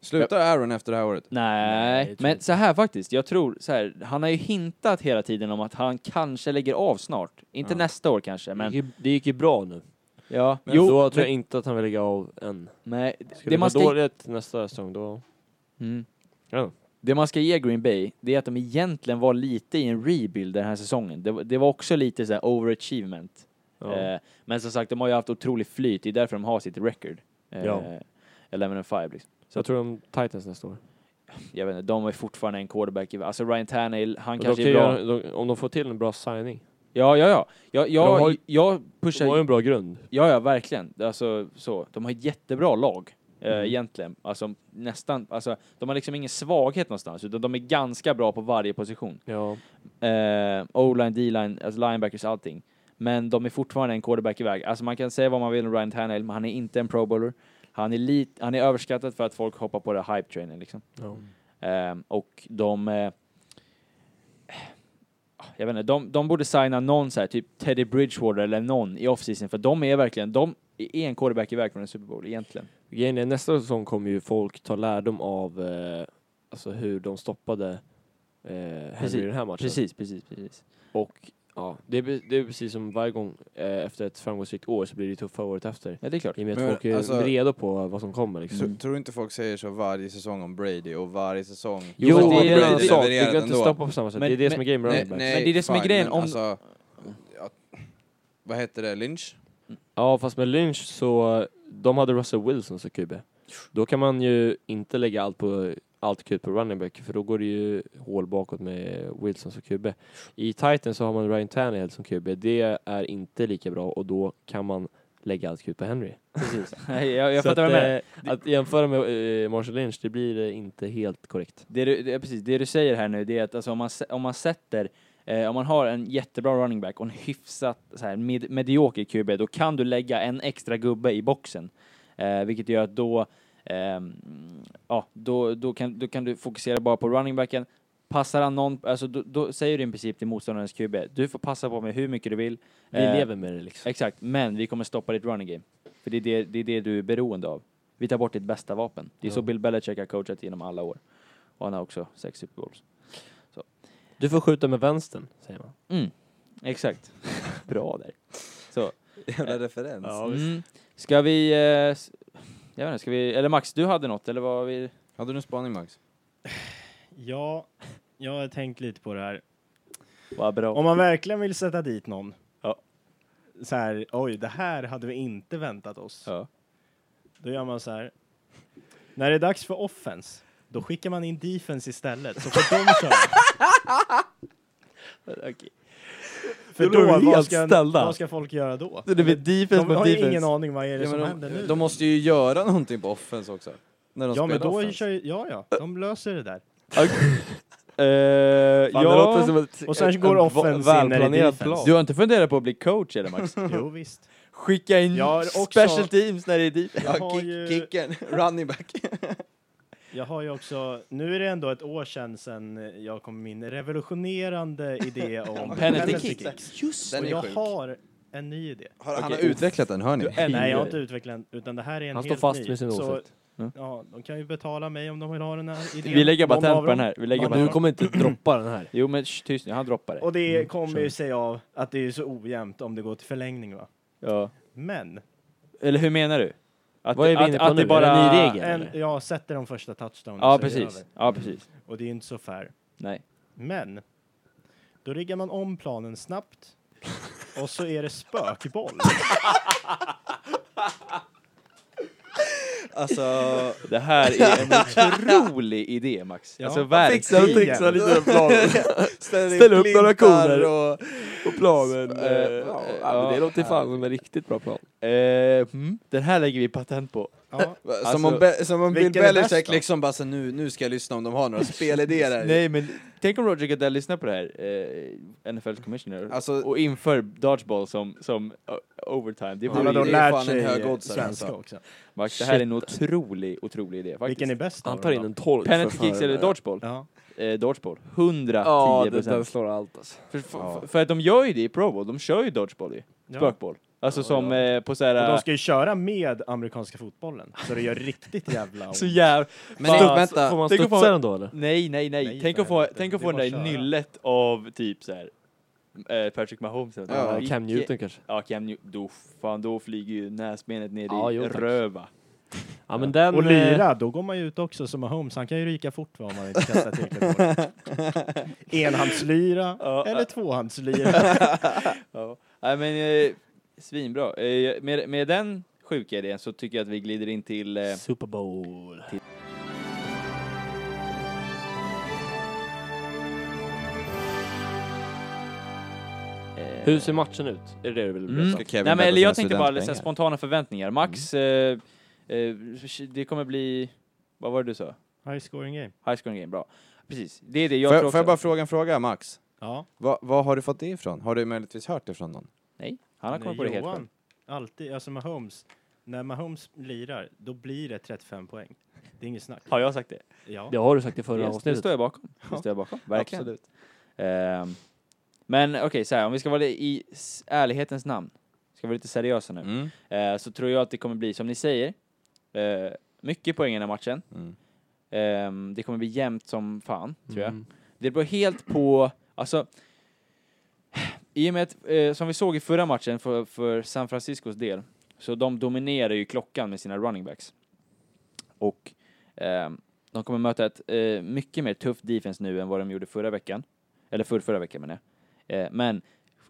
[SPEAKER 3] Slutar Aaron efter det här året?
[SPEAKER 1] Nej,
[SPEAKER 4] jag tror
[SPEAKER 1] men
[SPEAKER 4] inte.
[SPEAKER 1] så här faktiskt, jag tror så här, han har ju hintat hela tiden om att han kanske lägger av snart. Inte
[SPEAKER 3] Ja.
[SPEAKER 1] nästa år kanske,
[SPEAKER 2] Men,
[SPEAKER 1] men
[SPEAKER 2] det, gick, ju- det gick ju bra nu.
[SPEAKER 1] ja.
[SPEAKER 2] Mm. Men
[SPEAKER 1] jo,
[SPEAKER 2] då tror jag
[SPEAKER 1] men,
[SPEAKER 2] inte att han vill lägga av än.
[SPEAKER 1] nej,
[SPEAKER 2] Skulle
[SPEAKER 1] det
[SPEAKER 2] det vara
[SPEAKER 1] man ska
[SPEAKER 2] dåligt nästa säsong då...
[SPEAKER 1] Mm.
[SPEAKER 2] Ja.
[SPEAKER 1] Det man ska ge Green Bay, det är att de egentligen var lite i en rebuild den här säsongen. Det, var- det var också lite så här overachievement.
[SPEAKER 2] Ja.
[SPEAKER 1] Eh, men som sagt, de har ju haft otroligt flyt. Det är därför de har sitt record. Eh,
[SPEAKER 2] Ja.
[SPEAKER 1] 11 and 5 liksom.
[SPEAKER 2] Så jag tror om Titans nästa år.
[SPEAKER 1] Jag vet inte, de har ju fortfarande en quarterback. i- Alltså Ryan Tannehill, han
[SPEAKER 2] Och
[SPEAKER 1] kanske
[SPEAKER 2] de
[SPEAKER 1] är
[SPEAKER 2] kan
[SPEAKER 1] bra.
[SPEAKER 2] göra- de, om de får till en bra signing.
[SPEAKER 1] Ja, ja, ja. Jag, jag,
[SPEAKER 2] De har ju-
[SPEAKER 1] jag
[SPEAKER 2] De har
[SPEAKER 1] pushar...
[SPEAKER 2] ju en bra grund.
[SPEAKER 1] Ja, ja, verkligen. Alltså så. De har ett jättebra lag. eh,
[SPEAKER 2] Mm.
[SPEAKER 1] Egentligen. Alltså nästan. Alltså, de har liksom ingen svaghet någonstans. Utan de är ganska bra på varje position.
[SPEAKER 2] Ja.
[SPEAKER 1] Eh, O-line, D-line, alltså linebackers, allting. Men de är fortfarande en quarterback iväg. Alltså man kan säga vad man vill om Ryan Tannehill, men han är inte en pro bowler. Han är, lit, han är överskattad för att folk hoppar på det här hype-trainen liksom.
[SPEAKER 2] ja.
[SPEAKER 1] Eh, och de... Eh, jag vet inte, de, de borde signa någon så här, typ Teddy Bridgewater eller någon i offseason, för de är verkligen, de är en quarterback iväg från en Super Bowl egentligen.
[SPEAKER 2] Grejen är, nästa säsong kommer ju folk ta lärdom av eh, alltså hur de stoppade eh, Henry
[SPEAKER 1] Precis,
[SPEAKER 2] i den här matchen.
[SPEAKER 1] Precis, precis, precis.
[SPEAKER 2] Och ja, det är, be- det är precis som varje gång eh, efter ett framgångsrikt år så blir det tuffa året efter.
[SPEAKER 1] Ja, det är klart.
[SPEAKER 2] I och med att
[SPEAKER 3] Men,
[SPEAKER 2] folk är
[SPEAKER 3] alltså-
[SPEAKER 2] redo på vad som kommer liksom.
[SPEAKER 1] Mm.
[SPEAKER 3] Tro- Tror du inte folk säger så varje säsäsong om Brady och varje säsong?
[SPEAKER 1] Jo,
[SPEAKER 2] fast
[SPEAKER 1] det är
[SPEAKER 2] en
[SPEAKER 1] en
[SPEAKER 2] annan
[SPEAKER 1] annan
[SPEAKER 2] sak. Det
[SPEAKER 3] levererat
[SPEAKER 2] går inte
[SPEAKER 3] ändå.
[SPEAKER 2] att stoppa på samma sätt.
[SPEAKER 1] Men-
[SPEAKER 2] det är det som är grejen med
[SPEAKER 3] Nej,
[SPEAKER 2] running backs.
[SPEAKER 3] nej,
[SPEAKER 1] Men det är det som är
[SPEAKER 3] fine,
[SPEAKER 1] grejen
[SPEAKER 3] men
[SPEAKER 1] om-
[SPEAKER 3] Alltså, ja, vad heter det? Lynch?
[SPEAKER 2] Ja, fast med Lynch så, de hade Russell Wilson som QB. Då kan man ju inte lägga allt på allt kul på running back, för då går det ju hål bakåt med Wilson som QB. I Titans så har man Ryan Tannehill som QB. Det är inte lika bra och då kan man lägga allt kul på Henry.
[SPEAKER 1] Precis. Nej, jag, jag
[SPEAKER 2] Så
[SPEAKER 1] fattar vad
[SPEAKER 2] att,
[SPEAKER 1] du menar.
[SPEAKER 2] eh, Att jämföra med eh, Marshall Lynch, det blir eh, inte helt korrekt.
[SPEAKER 1] Det du, det, precis, det du säger här nu det är att alltså, om, man, sä- om man sätter, eh, om man har en jättebra running back och en hyfsat så här, med, medioker QB, då kan du lägga en extra gubbe i boxen. Eh, vilket gör att då, ehm, ja, då, då, kan, då kan du fokusera bara på running backen. Passar han någon, alltså då, då säger du i princip till motståndarens QB, du får passa på mig hur mycket du vill.
[SPEAKER 2] Vi
[SPEAKER 1] Eh,
[SPEAKER 2] lever med det liksom.
[SPEAKER 1] Exakt, men vi kommer stoppa ditt running game. För det är det, det är det du är beroende av. Vi tar bort ditt bästa vapen. Det är så
[SPEAKER 2] Ja.
[SPEAKER 1] Bill Belichick har coachat genom alla år. Och han har också sex Super Bowls.
[SPEAKER 2] Du får skjuta med vänstern, säger man.
[SPEAKER 1] Mm. Exakt. Bra där. Så.
[SPEAKER 3] Jävla referens.
[SPEAKER 1] Mm. Ska vi... Eh, s- jag vet inte, ska vi... Eller Max, du hade något, eller vad vi...
[SPEAKER 3] Hade du en spaning Max?
[SPEAKER 4] Ja, jag har tänkt lite på det här.
[SPEAKER 1] Vad bra.
[SPEAKER 4] Om man verkligen vill sätta dit någon.
[SPEAKER 1] Ja.
[SPEAKER 4] Så här, oj, det här hade vi inte väntat oss.
[SPEAKER 1] Ja.
[SPEAKER 4] Då gör man så här. När det är dags för offense, då skickar man in defense istället, så får de köra.
[SPEAKER 1] Okej.
[SPEAKER 4] För
[SPEAKER 2] Då blir
[SPEAKER 4] då,
[SPEAKER 2] vi
[SPEAKER 4] vad
[SPEAKER 2] helt
[SPEAKER 4] ska,
[SPEAKER 2] ställda.
[SPEAKER 4] vad ska folk göra då?
[SPEAKER 1] Det blir defense
[SPEAKER 4] De
[SPEAKER 1] mot
[SPEAKER 4] har ju ingen
[SPEAKER 1] defense.
[SPEAKER 4] aning vad är det
[SPEAKER 3] Ja,
[SPEAKER 4] som
[SPEAKER 3] men
[SPEAKER 4] händer
[SPEAKER 3] de,
[SPEAKER 4] nu.
[SPEAKER 3] de måste ju göra någonting på offense också. När de
[SPEAKER 4] ja, men
[SPEAKER 3] spelar
[SPEAKER 4] då
[SPEAKER 3] offense.
[SPEAKER 4] kör ju, ja, ja, de löser det där.
[SPEAKER 1] Eh,
[SPEAKER 2] Fan, det låter
[SPEAKER 1] ja.
[SPEAKER 2] som ett-
[SPEAKER 4] Och sen
[SPEAKER 2] en-
[SPEAKER 4] går
[SPEAKER 2] en
[SPEAKER 4] offense
[SPEAKER 2] va-
[SPEAKER 4] in när det är
[SPEAKER 2] välplanerad
[SPEAKER 4] defense.
[SPEAKER 2] plan.
[SPEAKER 1] Du har inte funderat på att bli coach eller Max?
[SPEAKER 4] Jo, visst.
[SPEAKER 1] Skicka in
[SPEAKER 4] Jag har också-
[SPEAKER 1] special teams när det är defense.
[SPEAKER 4] Jag
[SPEAKER 3] Ja,
[SPEAKER 4] har
[SPEAKER 3] kick,
[SPEAKER 4] ju-
[SPEAKER 3] Kicken, running back.
[SPEAKER 4] Jag har ju också, nu är det ändå ett år sedan sen jag kom med min revolutionerande idé om
[SPEAKER 1] Penalty
[SPEAKER 3] kicks.
[SPEAKER 4] Just
[SPEAKER 3] Den
[SPEAKER 4] Och
[SPEAKER 3] är
[SPEAKER 4] jag
[SPEAKER 3] sjuk.
[SPEAKER 4] har en ny idé.
[SPEAKER 3] Har, Han har
[SPEAKER 1] Okej.
[SPEAKER 3] utvecklat den, hör ni?
[SPEAKER 4] Nej, jag har inte utvecklat den, utan det här är en
[SPEAKER 2] Han står
[SPEAKER 4] helt
[SPEAKER 2] fast
[SPEAKER 4] ny.
[SPEAKER 2] med sin
[SPEAKER 4] Så,
[SPEAKER 2] åsikt.
[SPEAKER 1] Ja.
[SPEAKER 4] Ja, de kan ju betala mig om de vill ha den här idén.
[SPEAKER 1] Vi lägger
[SPEAKER 4] Någon
[SPEAKER 1] bara
[SPEAKER 4] av
[SPEAKER 1] temp på den
[SPEAKER 4] dem.
[SPEAKER 1] här. Vi lägger
[SPEAKER 4] Ja,
[SPEAKER 1] bara
[SPEAKER 4] du
[SPEAKER 2] Du
[SPEAKER 1] temp.
[SPEAKER 2] kommer inte droppa den här.
[SPEAKER 1] Jo men sh, tyst nu, han droppar det.
[SPEAKER 4] Och det
[SPEAKER 2] Mm,
[SPEAKER 4] kommer
[SPEAKER 2] kör.
[SPEAKER 4] ju sig av att det är så ojämnt om det går till förlängning va.
[SPEAKER 1] Ja.
[SPEAKER 4] Men,
[SPEAKER 1] Eller hur menar du? Att,
[SPEAKER 2] Vad är vi
[SPEAKER 1] att-
[SPEAKER 2] inne på
[SPEAKER 1] att
[SPEAKER 2] nu?
[SPEAKER 1] det bara...
[SPEAKER 2] Är det en ny regel?
[SPEAKER 4] en,
[SPEAKER 2] eller?
[SPEAKER 4] jag sätter de första touchdownen
[SPEAKER 1] Ja
[SPEAKER 4] så är det
[SPEAKER 1] precis.
[SPEAKER 4] över.
[SPEAKER 1] Ja precis.
[SPEAKER 4] Och det är ju inte så fair.
[SPEAKER 1] Nej.
[SPEAKER 4] Men, då riggar man om planen snabbt och så är det spökboll.
[SPEAKER 3] Alltså,
[SPEAKER 1] Det här är en otrolig idé Max.
[SPEAKER 4] Ja.
[SPEAKER 1] Alltså
[SPEAKER 3] Fixar och
[SPEAKER 1] verkligen.
[SPEAKER 3] trixar
[SPEAKER 2] lite med planen.
[SPEAKER 3] ställ,
[SPEAKER 2] Ställ upp några koner.
[SPEAKER 3] Och,
[SPEAKER 2] Och planen. eh,
[SPEAKER 1] Eh,
[SPEAKER 2] ja,
[SPEAKER 1] eh,
[SPEAKER 2] men
[SPEAKER 1] ja.
[SPEAKER 2] det låter fan som en riktigt bra plan.
[SPEAKER 1] Eh, mm, den här lägger vi patent på.
[SPEAKER 4] Ja.
[SPEAKER 1] Alltså,
[SPEAKER 3] som om, Be- som om Bill
[SPEAKER 4] vilken är bäst
[SPEAKER 3] Belichick
[SPEAKER 4] då?
[SPEAKER 3] liksom bara så, nu, nu ska jag lyssna om de har några spelidéer här.
[SPEAKER 1] Nej men tänk om Roger Goodell lyssnar på det här, eh, NFL's commissioner,
[SPEAKER 3] Alltså-
[SPEAKER 1] och inför dodgeball som, som o- overtime. Det
[SPEAKER 4] Han har
[SPEAKER 1] vore
[SPEAKER 4] då
[SPEAKER 3] det
[SPEAKER 1] ju...
[SPEAKER 3] är fan
[SPEAKER 4] lärt
[SPEAKER 3] en
[SPEAKER 4] sig
[SPEAKER 3] hög
[SPEAKER 4] eh,
[SPEAKER 3] oddsare,
[SPEAKER 4] svenska
[SPEAKER 3] alltså.
[SPEAKER 4] också.
[SPEAKER 1] Max, det här är en otrolig, otrolig idé faktiskt.
[SPEAKER 4] Vilken är bäst av
[SPEAKER 2] Han
[SPEAKER 4] dem
[SPEAKER 2] tar in
[SPEAKER 4] då?
[SPEAKER 2] en tolk.
[SPEAKER 1] Penalty kicks eller dodgeball?
[SPEAKER 4] Ja.
[SPEAKER 1] Eh, dodgeball. 110
[SPEAKER 2] Ja, den, den
[SPEAKER 1] procent.
[SPEAKER 2] slår allt alltså.
[SPEAKER 1] För, för, för att de gör ju det i Pro Bowl, de kör ju dodgeball ju.
[SPEAKER 4] Ja.
[SPEAKER 1] Spökboll. Alltså
[SPEAKER 2] Ja,
[SPEAKER 1] som
[SPEAKER 2] ja.
[SPEAKER 1] eh, på
[SPEAKER 4] Och de
[SPEAKER 1] såhär...
[SPEAKER 4] ska ju köra med amerikanska fotbollen, så det gör riktigt jävla
[SPEAKER 1] Så
[SPEAKER 4] ont.
[SPEAKER 1] jävla...
[SPEAKER 3] Men
[SPEAKER 1] Fan,
[SPEAKER 3] det- vänta,
[SPEAKER 2] Får man
[SPEAKER 1] Tänk att
[SPEAKER 2] studsa
[SPEAKER 1] få-
[SPEAKER 2] den då eller?
[SPEAKER 1] Nej, nej, nej.
[SPEAKER 4] Nej,
[SPEAKER 1] tänk
[SPEAKER 4] för
[SPEAKER 1] att få,
[SPEAKER 4] helvete.
[SPEAKER 1] tänk att
[SPEAKER 4] Det
[SPEAKER 1] få
[SPEAKER 4] är
[SPEAKER 1] den
[SPEAKER 4] bara
[SPEAKER 1] där
[SPEAKER 4] att köra.
[SPEAKER 1] nyllet av typ såhär eh, Patrick Mahomes. eller något.
[SPEAKER 3] Ja,
[SPEAKER 2] Ja, Cam
[SPEAKER 1] Vilke-
[SPEAKER 2] Newton kanske?
[SPEAKER 1] Ja, Cam Newton. Då, fan, då flyger ju näsbenet ner
[SPEAKER 2] Ja,
[SPEAKER 1] i
[SPEAKER 2] jo, tack.
[SPEAKER 1] röva.
[SPEAKER 2] Ja, men den,
[SPEAKER 4] Och
[SPEAKER 2] eh,
[SPEAKER 4] lira, då går man ju ut också som Mahomes. Han kan ju ryka fort va, om man inte kastar tillräckligt hårt. Enhandslyra
[SPEAKER 1] Ja,
[SPEAKER 4] eller
[SPEAKER 1] ja.
[SPEAKER 4] tvåhandslyra.
[SPEAKER 1] Ja. Nej, men eh, svinbra. Eh, med, med den sjuka idén så tycker jag att vi glider in till... Eh,
[SPEAKER 4] Super Bowl.
[SPEAKER 1] eh,
[SPEAKER 2] Hur ser matchen ut? Är det det du vill berätta?
[SPEAKER 1] Mm.
[SPEAKER 3] Ska
[SPEAKER 1] Nej,
[SPEAKER 3] Kevin
[SPEAKER 1] men,
[SPEAKER 3] hämta
[SPEAKER 1] eller jag
[SPEAKER 3] sina
[SPEAKER 1] tänkte bara lite så här
[SPEAKER 3] studentpengar?
[SPEAKER 1] spontana förväntningar. Max, eh, eh, det kommer bli... Vad var det du sa?
[SPEAKER 4] High scoring game.
[SPEAKER 1] High scoring game, bra. Precis, det är det jag
[SPEAKER 3] får,
[SPEAKER 1] tror
[SPEAKER 3] jag- får jag
[SPEAKER 1] också.
[SPEAKER 3] bara fråga en fråga, Max?
[SPEAKER 4] Ja.
[SPEAKER 3] Vad vad har du fått det ifrån? Har du möjligtvis hört det från någon?
[SPEAKER 1] Nej, han har
[SPEAKER 4] men
[SPEAKER 1] kommit på det helt själv.
[SPEAKER 4] Johan, Alltid, alltså Mahomes. När Mahomes lirar, då blir det 35 poäng. Det är inget snack.
[SPEAKER 1] Har jag sagt det?
[SPEAKER 4] Ja.
[SPEAKER 2] Det har du sagt i förra
[SPEAKER 1] Yes, det
[SPEAKER 2] avsnittet.
[SPEAKER 1] står jag bakom. Det står jag bakom, verkligen.
[SPEAKER 3] Absolut.
[SPEAKER 1] Ehm, men okej, så här, om vi ska vara det i s- ärlighetens namn, ska vara lite seriösa nu,
[SPEAKER 3] Mm.
[SPEAKER 1] eh, så tror jag att det kommer bli, som ni säger, eh, mycket poäng i den här matchen.
[SPEAKER 3] Mm.
[SPEAKER 1] Ehm, det kommer bli jämnt som fan, tror jag.
[SPEAKER 2] Mm.
[SPEAKER 1] Det beror helt på, alltså, i och med att, eh, som vi såg i förra matchen för, för San Franciscos del, så de dominerar ju klockan med sina running backs. Och ehm, de kommer möta ett eh, mycket mer tufft defense nu än vad de gjorde förra veckan. Eller för förra veckan menar jag. Eh, men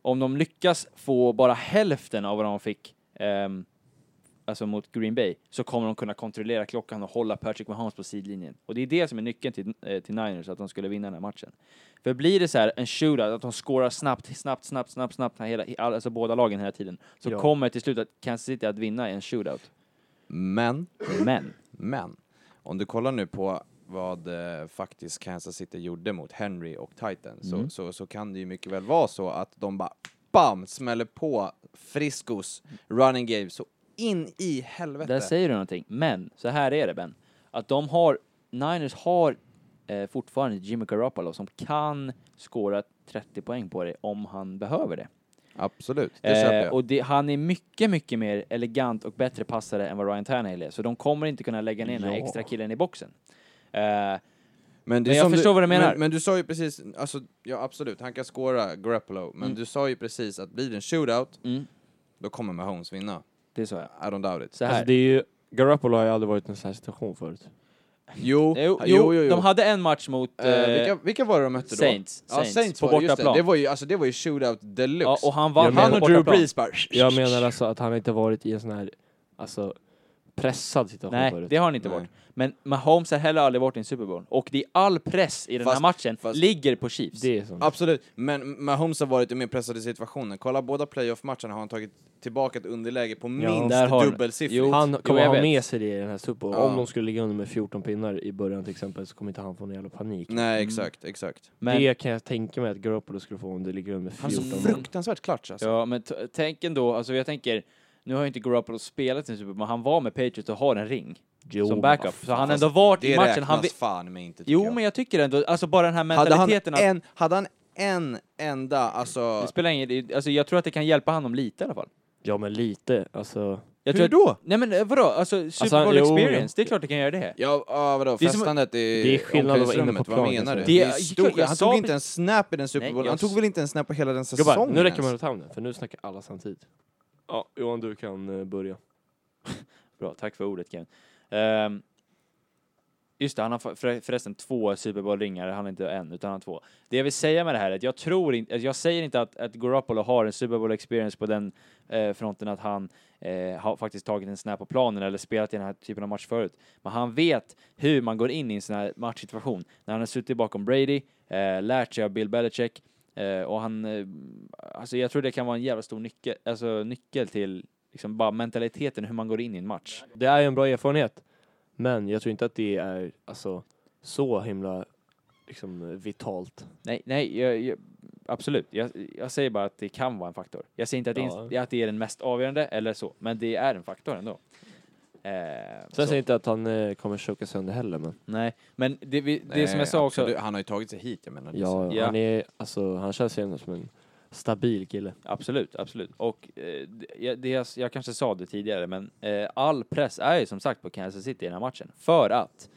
[SPEAKER 1] om de lyckas få bara hälften av vad de fick ehm, alltså mot Green Bay, så kommer de kunna kontrollera klockan och hålla Patrick Mahomes på sidlinjen. Och det är det som är nyckeln till, eh, till Niners, att de skulle vinna den här matchen. För blir det så här en shootout, att de scorar snabbt, snabbt, snabbt, snabbt, snabbt, hela, i- all- alltså båda lagen hela tiden, så
[SPEAKER 2] Ja.
[SPEAKER 1] kommer till slut att Kansas City att vinna i en shootout.
[SPEAKER 3] Men,
[SPEAKER 1] Men,
[SPEAKER 3] men, om du kollar nu på vad eh, faktiskt Kansas City gjorde mot Henry och Titan
[SPEAKER 1] Mm.
[SPEAKER 3] så, så, så kan det ju mycket väl vara så att de bara BAM! smäller på Friscos running game så in i helvete.
[SPEAKER 1] där säger du någonting. Men, så här är det Ben, att de har, Niners har eh, fortfarande Jimmy Garoppolo som kan skåra 30 poäng på det om han behöver det.
[SPEAKER 3] Absolut, det köper
[SPEAKER 1] Eh,
[SPEAKER 3] jag.
[SPEAKER 1] och det, han är mycket, mycket mer elegant och bättre passare än vad Ryan Tannehill är, så de kommer inte kunna lägga ner den här
[SPEAKER 2] Ja.
[SPEAKER 1] extra killen i boxen. Eh,
[SPEAKER 3] Mm. Men, det är
[SPEAKER 1] Men jag
[SPEAKER 3] som
[SPEAKER 1] förstår vad du menar.
[SPEAKER 3] Men, men du sa ju precis, alltså, ja absolut, han kan scora Garoppolo, men
[SPEAKER 1] Mm.
[SPEAKER 3] du sa ju precis att blir det en shootout,
[SPEAKER 1] mm,
[SPEAKER 3] då kommer Mahomes vinna.
[SPEAKER 1] det sa jag.
[SPEAKER 3] I don't doubt it.
[SPEAKER 1] Så här.
[SPEAKER 2] Alltså, det är ju, Garoppolo har ju aldrig varit i en sån här situation förut.
[SPEAKER 3] Jo,
[SPEAKER 1] Eh, jo, jo, de hade en match mot
[SPEAKER 3] Eh,
[SPEAKER 1] eh,
[SPEAKER 3] vilka, vilka var det de mötte då?
[SPEAKER 1] Saints,
[SPEAKER 3] Ja, Saints,
[SPEAKER 1] Saints på
[SPEAKER 3] var det, just
[SPEAKER 1] bortaplan.
[SPEAKER 3] Det. Det, var ju, alltså, det var ju shootout deluxe.
[SPEAKER 1] Ja, och han vann
[SPEAKER 2] Jag
[SPEAKER 1] med
[SPEAKER 2] menar-
[SPEAKER 3] han
[SPEAKER 1] på
[SPEAKER 3] och Drew
[SPEAKER 1] bortaplan.
[SPEAKER 3] Brees bara...
[SPEAKER 2] Jag menar alltså att han inte varit i en sån här, alltså, pressad situation
[SPEAKER 1] Nej,
[SPEAKER 2] förut.
[SPEAKER 1] det har han inte
[SPEAKER 3] Nej.
[SPEAKER 1] varit. Men Mahomes har heller aldrig varit i en Super Bowl. Och det är all press i den här
[SPEAKER 3] Fast-
[SPEAKER 1] matchen
[SPEAKER 3] fast-
[SPEAKER 1] ligger på Chiefs.
[SPEAKER 2] Det är som,
[SPEAKER 3] Absolut, men Mahomes har varit i mer pressade situationer. Kolla båda playoff-matcherna har han tagit tillbaka ett underläge på
[SPEAKER 1] där
[SPEAKER 3] minst
[SPEAKER 1] har han-
[SPEAKER 3] dubbelsiffrigt.
[SPEAKER 1] Jo.
[SPEAKER 2] han
[SPEAKER 1] Jo,
[SPEAKER 2] kommer
[SPEAKER 1] jag
[SPEAKER 2] ha
[SPEAKER 1] vet.
[SPEAKER 2] med sig det i den här Super Bowl.
[SPEAKER 3] Ja.
[SPEAKER 2] Om de skulle ligga under med 14 pinnar i början till exempel så kommer inte han få någon jävla panik.
[SPEAKER 3] Nej, exakt, exakt.
[SPEAKER 1] Men, Alltså,
[SPEAKER 2] Det kan jag tänka mig att Garoppolo skulle få om det ligger under med
[SPEAKER 3] Han är så
[SPEAKER 2] 14.
[SPEAKER 3] fruktansvärt klatsch alltså.
[SPEAKER 1] ja, men t- tänk ändå, alltså jag tänker, nu har ju inte Garoppolo spelat i en Super Bowl, men han var med Patriots och har en ring
[SPEAKER 2] Jo,
[SPEAKER 1] som
[SPEAKER 2] men
[SPEAKER 1] backup.
[SPEAKER 2] vad
[SPEAKER 1] Så han har
[SPEAKER 3] Fast
[SPEAKER 1] ändå varit i
[SPEAKER 3] Det
[SPEAKER 1] matchen.
[SPEAKER 3] räknas
[SPEAKER 1] Han vi-
[SPEAKER 3] fan med inte tycker
[SPEAKER 1] jo,
[SPEAKER 3] jag.
[SPEAKER 1] men jag tycker ändå, alltså bara den här
[SPEAKER 3] hade han,
[SPEAKER 1] mentaliteten att...
[SPEAKER 3] en, hade han en enda, alltså...
[SPEAKER 1] Det spelar ingen, det- alltså jag tror att det kan hjälpa honom lite i alla fall.
[SPEAKER 2] Ja men lite, alltså.
[SPEAKER 1] Jag
[SPEAKER 3] Hur
[SPEAKER 1] tror
[SPEAKER 3] då?
[SPEAKER 1] att, nej men eh, vadå, alltså Super
[SPEAKER 2] han-
[SPEAKER 1] Bowl
[SPEAKER 2] jo,
[SPEAKER 1] experience,
[SPEAKER 2] jo.
[SPEAKER 1] det är klart det kan göra det.
[SPEAKER 3] Ja, ja vadå,
[SPEAKER 1] Det är som-
[SPEAKER 3] festandet i
[SPEAKER 2] det är skillnad att vara inne på
[SPEAKER 3] omklädningsrummet, vad
[SPEAKER 2] planen,
[SPEAKER 3] menar du?
[SPEAKER 2] så.
[SPEAKER 1] Det-
[SPEAKER 3] Det är stor,
[SPEAKER 1] jag- jag
[SPEAKER 3] han
[SPEAKER 1] sa-
[SPEAKER 3] tog inte en snap i den Super
[SPEAKER 1] Nej,
[SPEAKER 3] Bowl,
[SPEAKER 1] jag
[SPEAKER 3] han tog
[SPEAKER 1] s-
[SPEAKER 3] väl inte en snap på hela den säsongen
[SPEAKER 2] Gubbar, nu räcker man
[SPEAKER 3] ens.
[SPEAKER 1] alltså.
[SPEAKER 2] runt handen för nu snackar alla samtidigt. Ja, Johan du kan eh, börja.
[SPEAKER 1] Bra, tack för ordet Kevin. Ehm, just det, han har för- för- förresten två Super Bowl-ringar, han har inte en, utan han har två. Det jag vill säga med det här är att jag tror inte, jag säger inte att, att Garoppolo har en Super Bowl-experience på den eh, fronten att han eh, har faktiskt tagit en snap på planen eller spelat i den här typen av match förut. Men han vet hur man går in i en sån här matchsituation. När han har suttit bakom Brady, eh, lärt sig av Bill Belichick, eh, och han, eh, alltså jag tror det kan vara en jävla stor nyckel, alltså nyckel till liksom bara mentaliteten, hur man går in i en match.
[SPEAKER 2] Det är ju en bra erfarenhet. Men jag tror inte att det är alltså, så himla liksom, vitalt.
[SPEAKER 1] Nej, nej, jag, jag, absolut. Jag, jag säger bara att det kan vara en faktor. Jag säger inte att, det, är,
[SPEAKER 2] Ja.
[SPEAKER 1] att det är den mest avgörande eller så, men det är en faktor ändå. Eh,
[SPEAKER 2] Sen
[SPEAKER 1] så.
[SPEAKER 2] säger jag inte att han eh, kommer choka sönder heller. Men
[SPEAKER 1] Nej, men det, vi, det som
[SPEAKER 3] Nej,
[SPEAKER 1] jag sa också,
[SPEAKER 3] absolut, Han har ju tagit sig hit, jag menar. det är så.
[SPEAKER 2] ja,
[SPEAKER 1] Ja.
[SPEAKER 2] Han, är, alltså, han känns ju ändå som en stabil kille.
[SPEAKER 1] absolut, absolut. Och eh, det- jag, det, jag, jag kanske sa det tidigare, men eh, all press är ju som sagt på Kansas City i den här matchen. För att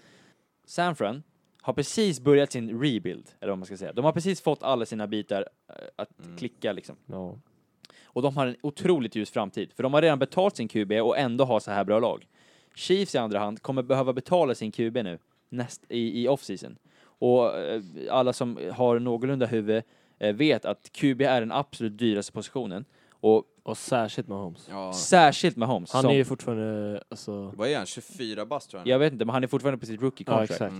[SPEAKER 1] San Fran har precis börjat sin rebuild, eller vad man ska säga. De har precis fått alla sina bitar eh, att
[SPEAKER 2] Mm.
[SPEAKER 1] klicka liksom.
[SPEAKER 2] Ja.
[SPEAKER 1] Och de har en otroligt ljus framtid, för de har redan betalt sin QB och ändå har så här bra lag. Chiefs i andra hand kommer behöva betala sin QB nu näst, i, i offseason. Och eh, alla som har någorlunda huvud eh, vet att QB är den absolut dyraste positionen. Och
[SPEAKER 2] Och särskilt med Holmes.
[SPEAKER 3] Ja.
[SPEAKER 1] särskilt med Holmes.
[SPEAKER 2] Han
[SPEAKER 1] som,
[SPEAKER 2] är ju fortfarande... Alltså,
[SPEAKER 3] Vad är han, 24 bast tror jag?
[SPEAKER 1] Jag vet inte, men han är fortfarande på sitt rookie
[SPEAKER 2] ja,
[SPEAKER 1] contract.
[SPEAKER 2] exakt.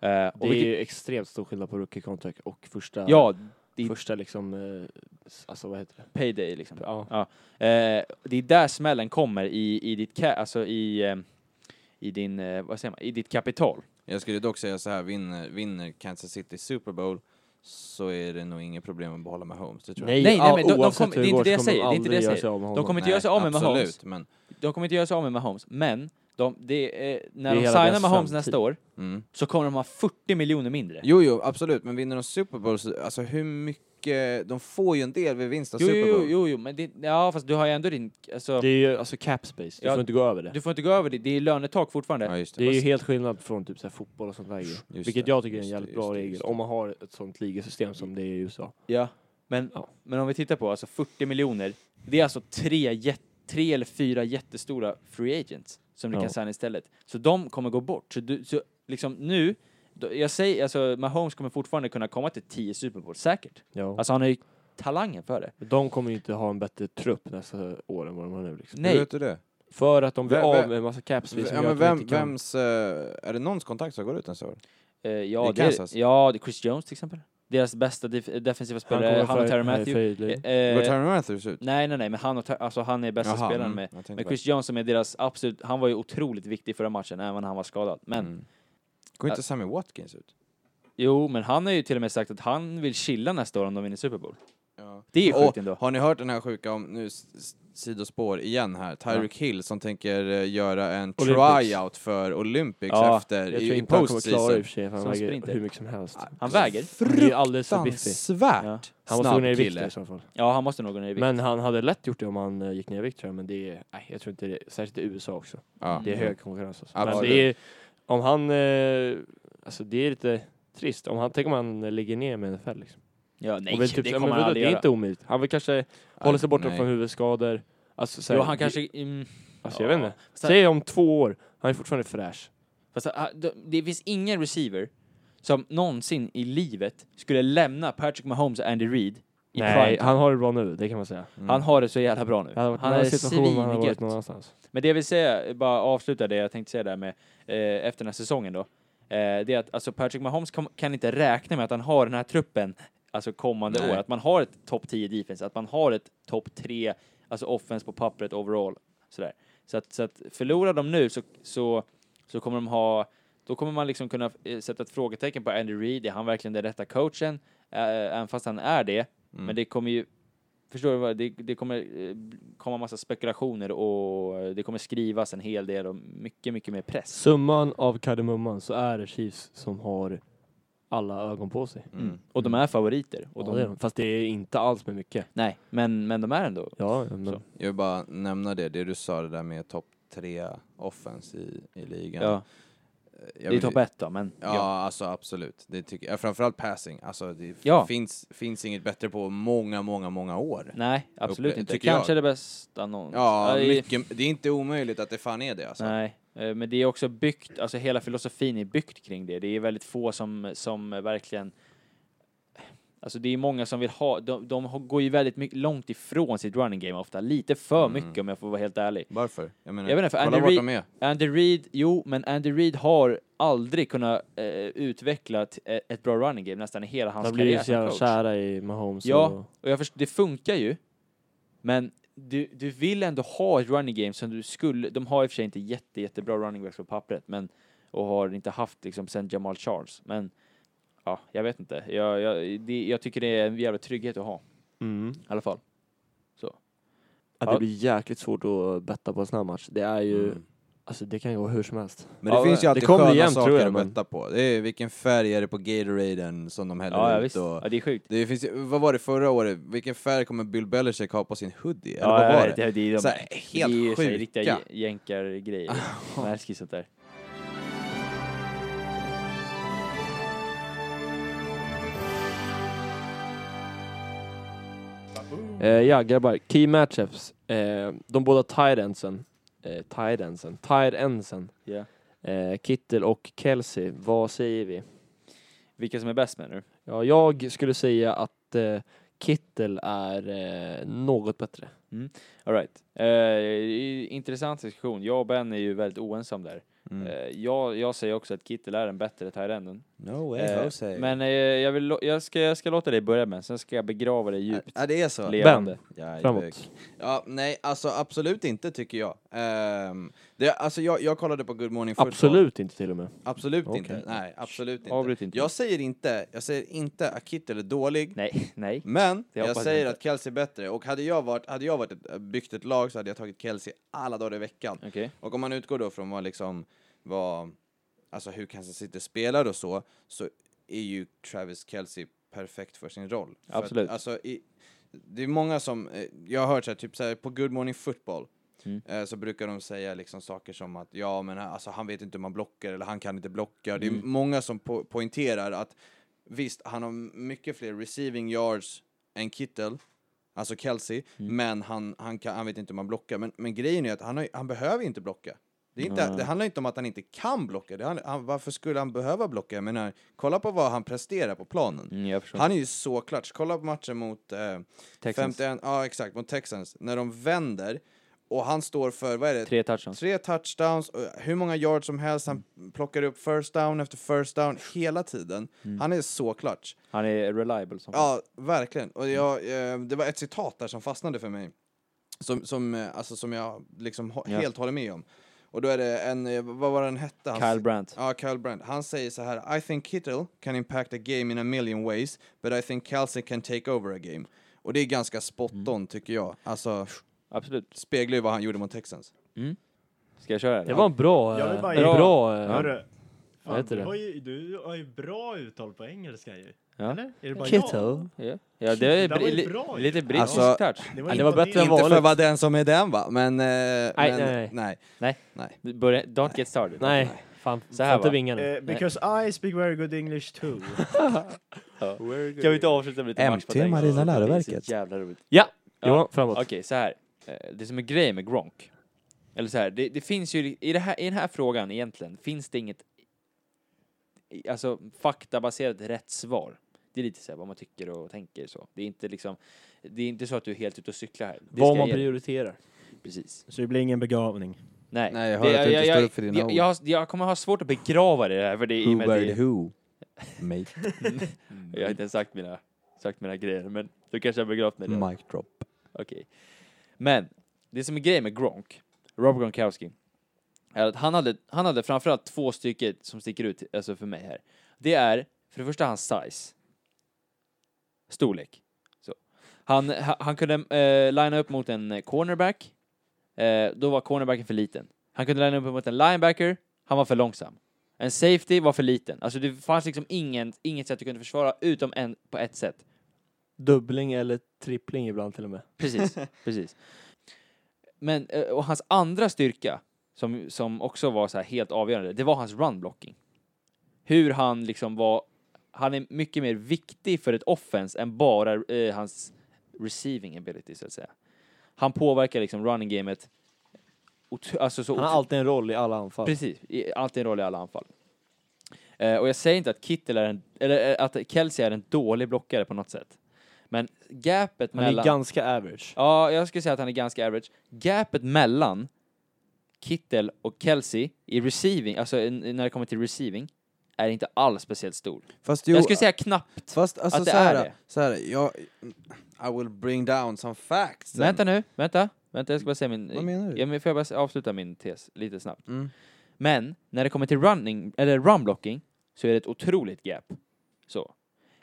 [SPEAKER 3] Mm.
[SPEAKER 1] Eh, och
[SPEAKER 2] Det är
[SPEAKER 1] vilket,
[SPEAKER 2] ju extremt stor skillnad på rookie contract och första...
[SPEAKER 1] ja, det är-
[SPEAKER 2] Första liksom... eh, s- Alltså vad heter det?
[SPEAKER 1] payday liksom.
[SPEAKER 2] Ja.
[SPEAKER 1] Eh, det är där smällen kommer i, i ditt ca- alltså i, eh, i din, eh, vad säger man, i ditt kapital.
[SPEAKER 3] Jag skulle dock säga så här, vinner, vinner Kansas City Super Bowl så är det nog inget problem att behålla Mahomes, det tror jag.
[SPEAKER 2] Nej,
[SPEAKER 1] nej,
[SPEAKER 2] ja,
[SPEAKER 1] men de- de
[SPEAKER 2] oavsett
[SPEAKER 1] kommer-
[SPEAKER 2] hur
[SPEAKER 1] det är inte
[SPEAKER 2] går
[SPEAKER 1] det jag
[SPEAKER 2] så kommer
[SPEAKER 1] säger, det är inte det jag
[SPEAKER 2] aldrig göra sig
[SPEAKER 1] säger.
[SPEAKER 2] av med
[SPEAKER 1] De
[SPEAKER 2] honom.
[SPEAKER 1] kommer inte göra sig av med
[SPEAKER 3] absolut,
[SPEAKER 1] Mahomes.
[SPEAKER 3] men...
[SPEAKER 1] De kommer inte göra sig av med Mahomes, men de, det, eh, när
[SPEAKER 2] Det är
[SPEAKER 1] de
[SPEAKER 2] hela
[SPEAKER 1] signar
[SPEAKER 2] deras
[SPEAKER 1] Mahomes
[SPEAKER 2] framtid.
[SPEAKER 1] nästa år
[SPEAKER 3] Mm.
[SPEAKER 1] så kommer de ha 40 miljoner mindre.
[SPEAKER 3] Jo, jo, absolut, men vinner de Super Bowl, så, alltså hur mycket... De får ju en del vid vinst av
[SPEAKER 1] jo,
[SPEAKER 3] Super
[SPEAKER 1] jo,
[SPEAKER 3] Bowl.
[SPEAKER 1] jo, jo, men det, ja, fast du har ju ändå din, alltså,
[SPEAKER 2] Det är ju alltså cap space, du
[SPEAKER 1] Ja,
[SPEAKER 2] får inte gå över det.
[SPEAKER 1] du får inte gå över det, det är lönetak fortfarande.
[SPEAKER 3] Ja, just
[SPEAKER 2] Det
[SPEAKER 3] det.
[SPEAKER 2] är ju helt skillnad från typ så här fotboll och sånt där ju. Vilket
[SPEAKER 3] det,
[SPEAKER 2] jag tycker är en
[SPEAKER 3] just det,
[SPEAKER 2] jävligt
[SPEAKER 3] just
[SPEAKER 2] bra
[SPEAKER 3] det,
[SPEAKER 2] regel.
[SPEAKER 3] just det.
[SPEAKER 2] Om man har ett sånt ligasystem som det är i USA.
[SPEAKER 1] Ja, men,
[SPEAKER 2] Ja.
[SPEAKER 1] men om vi tittar på alltså 40 miljoner, det är alltså tre, jät- tre eller fyra jättestora free agents som du
[SPEAKER 2] Ja.
[SPEAKER 1] kan signa istället. Så de kommer gå bort. Så, du, så liksom nu, då, jag säger, alltså Mahomes kommer fortfarande kunna komma till 10 Super Bowl, säkert.
[SPEAKER 2] Ja.
[SPEAKER 1] Alltså han har ju talangen för det.
[SPEAKER 2] de kommer ju inte ha en bättre trupp nästa år än vad de har nu. Liksom.
[SPEAKER 1] Nej.
[SPEAKER 3] Hur vet du det?
[SPEAKER 2] För att de blir
[SPEAKER 3] Vem-
[SPEAKER 2] av
[SPEAKER 3] vem-
[SPEAKER 2] med en massa cap space som gör
[SPEAKER 3] Ja, men
[SPEAKER 2] att de
[SPEAKER 3] vem,
[SPEAKER 2] inte kan...
[SPEAKER 3] vems... eh, är det någons kontakt som går ut nästa år?
[SPEAKER 1] Eh, ja,
[SPEAKER 3] I
[SPEAKER 1] det
[SPEAKER 3] Kansas?
[SPEAKER 1] är, ja, det är Chris Jones till exempel. Deras bästa def- defensiva spelare, han och Terry Matthew.
[SPEAKER 2] Matthew.
[SPEAKER 1] Eh,
[SPEAKER 3] Går Tyron Matthews
[SPEAKER 2] mm,
[SPEAKER 3] ut?
[SPEAKER 1] nej, nej, nej, men han, och Ter- alltså, han är bästa
[SPEAKER 3] Jaha,
[SPEAKER 1] spelaren
[SPEAKER 3] mm,
[SPEAKER 1] med.
[SPEAKER 3] jag tänkte
[SPEAKER 1] Men
[SPEAKER 3] väl.
[SPEAKER 1] Chris Jones som är deras absolut, han var ju otroligt viktig förra matchen, även när han var skadad. Men,
[SPEAKER 3] Mm. Går inte Sammy Watkins ut?
[SPEAKER 1] jo, men han har ju till och med sagt att han vill chilla nästa år om de vinner Super Bowl.
[SPEAKER 3] Ja.
[SPEAKER 1] Det är ju sjukt
[SPEAKER 3] Och
[SPEAKER 1] ändå.
[SPEAKER 3] Har ni hört den här sjuka om, nu s- s- sidospår igen här, Tyreek Hill som tänker eh, göra en
[SPEAKER 2] Olympics.
[SPEAKER 3] tryout för Olympics
[SPEAKER 1] Ja,
[SPEAKER 3] efter
[SPEAKER 2] Jag
[SPEAKER 3] i,
[SPEAKER 2] tror
[SPEAKER 3] i
[SPEAKER 2] inte han kommer klara i och
[SPEAKER 3] postseason.
[SPEAKER 2] för sig, för han
[SPEAKER 1] Som
[SPEAKER 2] väger
[SPEAKER 1] sprinter.
[SPEAKER 2] hur mycket som helst.
[SPEAKER 1] Han väger.
[SPEAKER 2] Han är ju alldeles för biffig.
[SPEAKER 1] Ja.
[SPEAKER 3] Fruktansvärt
[SPEAKER 2] Han måste gå ner i
[SPEAKER 3] snabb
[SPEAKER 2] vikt i
[SPEAKER 3] kille.
[SPEAKER 2] så fall.
[SPEAKER 1] Ja, han måste nog gå ner i vikt.
[SPEAKER 2] Men han hade lätt gjort det om han eh, gick ner i vikt tror jag, men det är, nej, jag tror inte det, särskilt i USA också.
[SPEAKER 3] Ja.
[SPEAKER 1] Mm.
[SPEAKER 2] Det är hög konkurrens. Alltså. Men
[SPEAKER 3] Absolut.
[SPEAKER 2] det är, om han, eh, alltså det är lite trist. Om han, tänk om han eh, ligger ner med NFL liksom.
[SPEAKER 1] ja, nej,
[SPEAKER 2] Och väl typ-
[SPEAKER 1] det
[SPEAKER 2] ja,
[SPEAKER 1] kommer
[SPEAKER 2] men
[SPEAKER 1] han
[SPEAKER 2] vadå,
[SPEAKER 1] aldrig
[SPEAKER 2] Det är
[SPEAKER 1] göra.
[SPEAKER 2] inte omöjligt. Han vill kanske hålla sig borta
[SPEAKER 3] nej.
[SPEAKER 2] från huvudskador. Alltså, så här,
[SPEAKER 1] Jo, han
[SPEAKER 2] det-
[SPEAKER 1] kanske... Mm,
[SPEAKER 2] alltså, jag vet inte.
[SPEAKER 1] Så här-
[SPEAKER 2] Säg om två år, han är fortfarande fräsch.
[SPEAKER 1] Fast ah, de- det finns ingen receiver som någonsin i livet skulle lämna Patrick Mahomes och Andy Reid i
[SPEAKER 2] Nej,
[SPEAKER 1] prime time.
[SPEAKER 2] han har det bra nu, det kan man säga.
[SPEAKER 3] Mm.
[SPEAKER 1] Han har det så jävla bra nu.
[SPEAKER 2] Det hade varit
[SPEAKER 1] han
[SPEAKER 2] en
[SPEAKER 1] är
[SPEAKER 2] annan situation om han hade varit
[SPEAKER 1] svingött.
[SPEAKER 2] någon annanstans.
[SPEAKER 1] Men det jag vill säga, bara avsluta det jag tänkte säga där med eh, efter den här säsongen då. Eh, det är att alltså Patrick Mahomes kom, kan inte räkna med att han har den här truppen alltså kommande
[SPEAKER 3] Nej.
[SPEAKER 1] år. Att man har ett topp 10 defense, att man har ett topp 3 alltså offense på pappret overall. Sådär. Så att, så att förlorar de nu så, så, så kommer de ha då kommer man liksom kunna eh, sätta ett frågetecken på Andy Reid, är han verkligen den rätta coachen? Eh, även fast han är det,
[SPEAKER 3] Mm.
[SPEAKER 1] men det kommer ju Förstår du? vad- Det, det kommer eh, komma massa spekulationer och eh, det kommer skrivas en hel del och mycket, mycket mer press.
[SPEAKER 2] Summan av kardemumman så är det Chiefs som har alla ögon på sig.
[SPEAKER 3] Mm.
[SPEAKER 1] Och de är favoriter. Och
[SPEAKER 2] Och
[SPEAKER 1] de,
[SPEAKER 2] de, Fast det är inte alls med mycket.
[SPEAKER 1] Nej, men, men de är ändå.
[SPEAKER 2] Ja, men
[SPEAKER 1] Så.
[SPEAKER 3] Jag vill bara nämna det, det du sa det där med topp tre offense i, i ligan.
[SPEAKER 1] Ja,
[SPEAKER 3] Jag
[SPEAKER 1] det är
[SPEAKER 3] vill-
[SPEAKER 1] topp ett då, men
[SPEAKER 3] Ja, alltså absolut. Det tycker jag. Framförallt passing. Alltså, det f-
[SPEAKER 1] Ja.
[SPEAKER 3] finns, finns inget bättre på många, många, många år.
[SPEAKER 1] nej, absolut
[SPEAKER 3] Upple-
[SPEAKER 1] inte.
[SPEAKER 3] tycker jag.
[SPEAKER 1] Kanske det bästa någon.
[SPEAKER 3] Ja,
[SPEAKER 1] det-
[SPEAKER 3] mycket, det är inte omöjligt att det fan är det alltså.
[SPEAKER 1] Nej, eh, men det är också byggt, alltså hela filosofin är byggt kring det. Det är väldigt få som, som verkligen Alltså det är många som vill ha, de, de har- går ju väldigt mycket, långt ifrån sitt running game ofta, lite för
[SPEAKER 3] Mm.
[SPEAKER 1] mycket om jag får vara helt ärlig.
[SPEAKER 3] Varför? Jag menar,
[SPEAKER 1] Jag vet inte, för
[SPEAKER 3] kolla
[SPEAKER 1] Andy
[SPEAKER 3] vart
[SPEAKER 1] Reid-
[SPEAKER 3] de är.
[SPEAKER 1] Andy Reid, jo, men Andy Reid har aldrig kunnat eh, utveckla ett, ett bra running game nästan i hela hans
[SPEAKER 2] De blir ju
[SPEAKER 1] karriär
[SPEAKER 2] så
[SPEAKER 1] som
[SPEAKER 2] jävla
[SPEAKER 1] coach.
[SPEAKER 2] kära i Mahomes.
[SPEAKER 1] Ja.
[SPEAKER 2] och-
[SPEAKER 1] Och jag förstår, det funkar ju, men du, du vill ändå ha ett running game som du skulle, de har i och för sig inte jätte, jättebra running backs på pappret, men och har inte haft liksom sen Jamal Charles, men ja, jag vet inte. Jag, jag, det, jag tycker det är en jävla trygghet att ha,
[SPEAKER 2] Mm.
[SPEAKER 1] i alla fall.
[SPEAKER 2] Ja,
[SPEAKER 1] Ja.
[SPEAKER 2] det blir jäkligt svårt att betta på en sån här match. Det är ju,
[SPEAKER 3] Mm.
[SPEAKER 2] alltså det kan gå hur som helst.
[SPEAKER 3] Men det
[SPEAKER 1] Ja,
[SPEAKER 3] finns ju
[SPEAKER 1] det
[SPEAKER 3] alltid
[SPEAKER 2] kommer
[SPEAKER 3] sköna
[SPEAKER 2] igen, tror
[SPEAKER 3] saker
[SPEAKER 2] jag,
[SPEAKER 3] att
[SPEAKER 2] men-
[SPEAKER 3] betta på. Det är vilken färg är det på Gatoraden som de häller
[SPEAKER 1] Ja, ja,
[SPEAKER 3] ut
[SPEAKER 1] visst.
[SPEAKER 3] och...
[SPEAKER 1] Ja, det är sjukt.
[SPEAKER 3] Det finns ju, vad var det förra året? Vilken färg kommer Bill Belichick ha på sin hoodie? Eller
[SPEAKER 1] Ja,
[SPEAKER 3] vad var
[SPEAKER 1] jag
[SPEAKER 3] det?
[SPEAKER 1] vet, det, det är de,
[SPEAKER 3] Så här, helt
[SPEAKER 1] det är ju så här
[SPEAKER 3] sjuka.
[SPEAKER 1] riktiga jä- jänkargrejer. De älskar ju sånt där.
[SPEAKER 2] Eh, ja grabbar, key matchups. Eh, de båda tight-endsen, eh, tight-endsen, tight-endsen,
[SPEAKER 1] Ja.
[SPEAKER 2] eh, Kittel och Kelsey, vad säger vi?
[SPEAKER 1] Vilka som är bäst menar du?
[SPEAKER 2] Ja, jag skulle säga att eh, Kittel är eh, något bättre.
[SPEAKER 1] All right. Eh, intressant diskussion. Jag och Ben är ju väldigt oense om där.
[SPEAKER 3] Mm.
[SPEAKER 1] Eh, jag, jag säger också att Kittel är en bättre tight-enden.
[SPEAKER 3] No way,
[SPEAKER 1] Eh,
[SPEAKER 3] Jose.
[SPEAKER 1] men eh, jag, vill, lo- jag, ska, jag ska låta dig börja Ben, sen ska jag begrava dig djupt.
[SPEAKER 3] Ja, det är Äh, så.
[SPEAKER 1] Levande.
[SPEAKER 3] Ja,
[SPEAKER 2] Framåt.
[SPEAKER 3] Ja, nej, alltså absolut inte tycker jag. Ehm, det, alltså, jag, jag kollade på Good Morning Football.
[SPEAKER 2] Absolut inte till och med.
[SPEAKER 3] Absolut
[SPEAKER 2] Okej.
[SPEAKER 3] inte. Nej, absolut inte.
[SPEAKER 1] Avbryt inte.
[SPEAKER 3] Jag säger inte, jag säger inte att Kittel är dålig,
[SPEAKER 1] Nej,
[SPEAKER 2] Mm,
[SPEAKER 1] nej.
[SPEAKER 3] men
[SPEAKER 1] Det
[SPEAKER 3] jag
[SPEAKER 1] hoppas
[SPEAKER 3] säger
[SPEAKER 1] jag
[SPEAKER 3] att Kelsey är bättre. Och hade jag, varit, hade jag varit ett, eh, byggt ett lag så hade jag tagit Kelsey alla dagar i veckan.
[SPEAKER 1] Okej.
[SPEAKER 3] Och om man utgår då från vad liksom, vad, alltså hur Kansas City spelar och så, så är ju Travis Kelce perfekt för sin roll. För
[SPEAKER 1] Absolut.
[SPEAKER 3] Att, alltså, i, det är många som, eh, jag har hört så här, typ så här, på Good Morning Football,
[SPEAKER 1] Mm.
[SPEAKER 3] eh, så brukar de säga liksom saker som att ja men han- alltså, han vet inte hur man blockar eller han kan inte blocka. Det är
[SPEAKER 1] Mm.
[SPEAKER 3] många som po- poängterar att visst, han har mycket fler receiving yards än Kittel, alltså Kelsey,
[SPEAKER 1] Mm.
[SPEAKER 3] men han, han, kan, han vet inte hur man blockar. Men, men grejen är att han, har, ju- han behöver ju inte blocka. Det, är inte, det handlar inte om att han inte kan blocka. Det handlar, han, varför skulle han behöva blocka? Jag menar, kolla på vad han presterar på planen.
[SPEAKER 1] Mm, jag förstår.
[SPEAKER 3] Han är ju så klatsch. Kolla på matchen mot eh,
[SPEAKER 1] Texans.
[SPEAKER 3] 51, ja exakt, mot Texans. När de vänder och han står för, vad är Alltså, det?
[SPEAKER 1] Tre touchdowns.
[SPEAKER 3] Tre touchdowns, och hur många yards som helst. Han plockar upp first down efter first down hela tiden.
[SPEAKER 1] Mm.
[SPEAKER 3] Han är så klatsch.
[SPEAKER 1] Han är reliable som fan.
[SPEAKER 3] Ja, verkligen. Och jag, eh, det var ett citat där som fastnade för mig. Som, som, eh, alltså, som jag liksom ho-
[SPEAKER 1] Ja.
[SPEAKER 3] helt håller med om. Och då är det en, eh, vad var den hette? Hans-
[SPEAKER 1] Kyle Brandt.
[SPEAKER 3] Ja, Kyle Brandt. Han säger så här, I think Kittle can impact a game in a million ways, but I think Kelsey can take over a game. Och det är ganska spot
[SPEAKER 1] Mm.
[SPEAKER 3] on tycker jag. Alltså,
[SPEAKER 1] Absolut.
[SPEAKER 3] speglar ju vad han gjorde mot Texans.
[SPEAKER 1] Ska jag köra?
[SPEAKER 2] Det var en bra,
[SPEAKER 4] Jag vill
[SPEAKER 2] eh,
[SPEAKER 4] bara-
[SPEAKER 2] en bra, eh,
[SPEAKER 4] Hörru,
[SPEAKER 2] Vad
[SPEAKER 4] fan,
[SPEAKER 2] heter
[SPEAKER 4] du,
[SPEAKER 2] det?
[SPEAKER 4] har ju, du har ju bra uttal på engelska ju.
[SPEAKER 1] Ja.
[SPEAKER 4] Eller? Är det bara jag?
[SPEAKER 2] eh, Kittel.
[SPEAKER 1] Ja, ja det är
[SPEAKER 4] Det var ju
[SPEAKER 1] bri-
[SPEAKER 4] bra
[SPEAKER 1] li-
[SPEAKER 4] ju.
[SPEAKER 1] lite brittisk
[SPEAKER 3] Alltså-
[SPEAKER 1] touch.
[SPEAKER 4] Det
[SPEAKER 2] Ja, det var
[SPEAKER 4] imponerande.
[SPEAKER 2] bättre än vad-
[SPEAKER 3] Inte för
[SPEAKER 2] vanligt.
[SPEAKER 3] vad den som är den va, men... Eh, nej, men
[SPEAKER 2] nej.
[SPEAKER 3] nej.
[SPEAKER 1] Det börjar- Don't get started.
[SPEAKER 2] Nej, fan,
[SPEAKER 1] Så här
[SPEAKER 2] fan inte
[SPEAKER 1] va?
[SPEAKER 2] vinga nu.
[SPEAKER 4] Eh, because I speak very good English too.
[SPEAKER 1] Kan vi inte avsluta med lite
[SPEAKER 3] MT
[SPEAKER 1] matchpatent?
[SPEAKER 3] Marina
[SPEAKER 1] Det är så
[SPEAKER 3] läroverket.
[SPEAKER 1] Jävla roligt.
[SPEAKER 2] Ja,
[SPEAKER 1] Ja.
[SPEAKER 2] Johan, framåt.
[SPEAKER 1] Okej, så här. Eh, Det som är grejen med Gronk, eller så här, det, det finns ju i, det här, i den här frågan egentligen, finns det inget i- alltså faktabaserat rätt svar. det är lite så här vad man tycker och tänker så. Det är inte liksom, det är inte så att du är helt ute och cyklar här. Det ska
[SPEAKER 2] Vad man
[SPEAKER 1] jag ge-
[SPEAKER 2] prioriterar.
[SPEAKER 1] Precis.
[SPEAKER 4] Så det blir ingen begravning.
[SPEAKER 1] Nej.
[SPEAKER 3] Nej, jag
[SPEAKER 1] Det-
[SPEAKER 3] hör att du inte
[SPEAKER 1] jag,
[SPEAKER 3] står upp för dina
[SPEAKER 1] jag,
[SPEAKER 3] ord.
[SPEAKER 1] jag, har- jag kommer ha svårt att begrava det här för det är i och med att det är-
[SPEAKER 3] who? Mate.
[SPEAKER 1] Jag har inte ens sagt mina, sagt mina grejer, men du kanske har begravt mig redan.
[SPEAKER 3] Mic drop.
[SPEAKER 1] Okej. Men, det som är grejen med Gronk, Rob Gronkowski, är att han hade, han hade framförallt två stycken som sticker ut alltså för mig här. Det är, för det första, hans size. Storlek. Så. Han, ha- han kunde eh, linea upp mot en eh, cornerback, eh, då var cornerbacken för liten. Han kunde linea upp mot en linebacker, han var för långsam. En safety var för liten. Alltså det fanns liksom ingen, inget sätt du kunde försvara utom en, på ett sätt.
[SPEAKER 2] Dubbling eller trippling ibland till och med.
[SPEAKER 1] Precis, precis. Men, eh, och hans andra styrka, som, som också var så här helt avgörande, det var hans runblocking. Hur han liksom var, han är mycket mer viktig för ett offense än bara eh, hans receiving ability, så att säga. Han påverkar liksom running gamet, otro- alltså så
[SPEAKER 2] Han har
[SPEAKER 1] otro-
[SPEAKER 2] alltid en roll i alla anfall.
[SPEAKER 1] Precis, i- alltid en roll i alla anfall. Eh, och jag säger inte att Kittel är en, eller eh, att Kelsey är en dålig blockare på något sätt. Men gapet
[SPEAKER 2] Han är
[SPEAKER 1] mellan...
[SPEAKER 2] ganska average.
[SPEAKER 1] Ja, jag skulle säga att han är ganska average. Gapet mellan Kittel och Kelsey i receiving, alltså en- när det kommer till receiving, är inte alls speciellt stor.
[SPEAKER 3] Fast jo,
[SPEAKER 1] jag skulle säga knappt.
[SPEAKER 3] fast alltså
[SPEAKER 1] att det
[SPEAKER 3] så här,
[SPEAKER 1] är det.
[SPEAKER 3] Så här, jag, I will bring down some facts. sen.
[SPEAKER 1] Vänta nu, vänta, vänta, jag ska bara säga min...
[SPEAKER 3] Vad menar du?
[SPEAKER 1] Ja, men får jag bara s- avsluta min tes lite snabbt?
[SPEAKER 3] Mm.
[SPEAKER 1] Men när det kommer till running, eller runblocking, så är det ett otroligt gap. Så.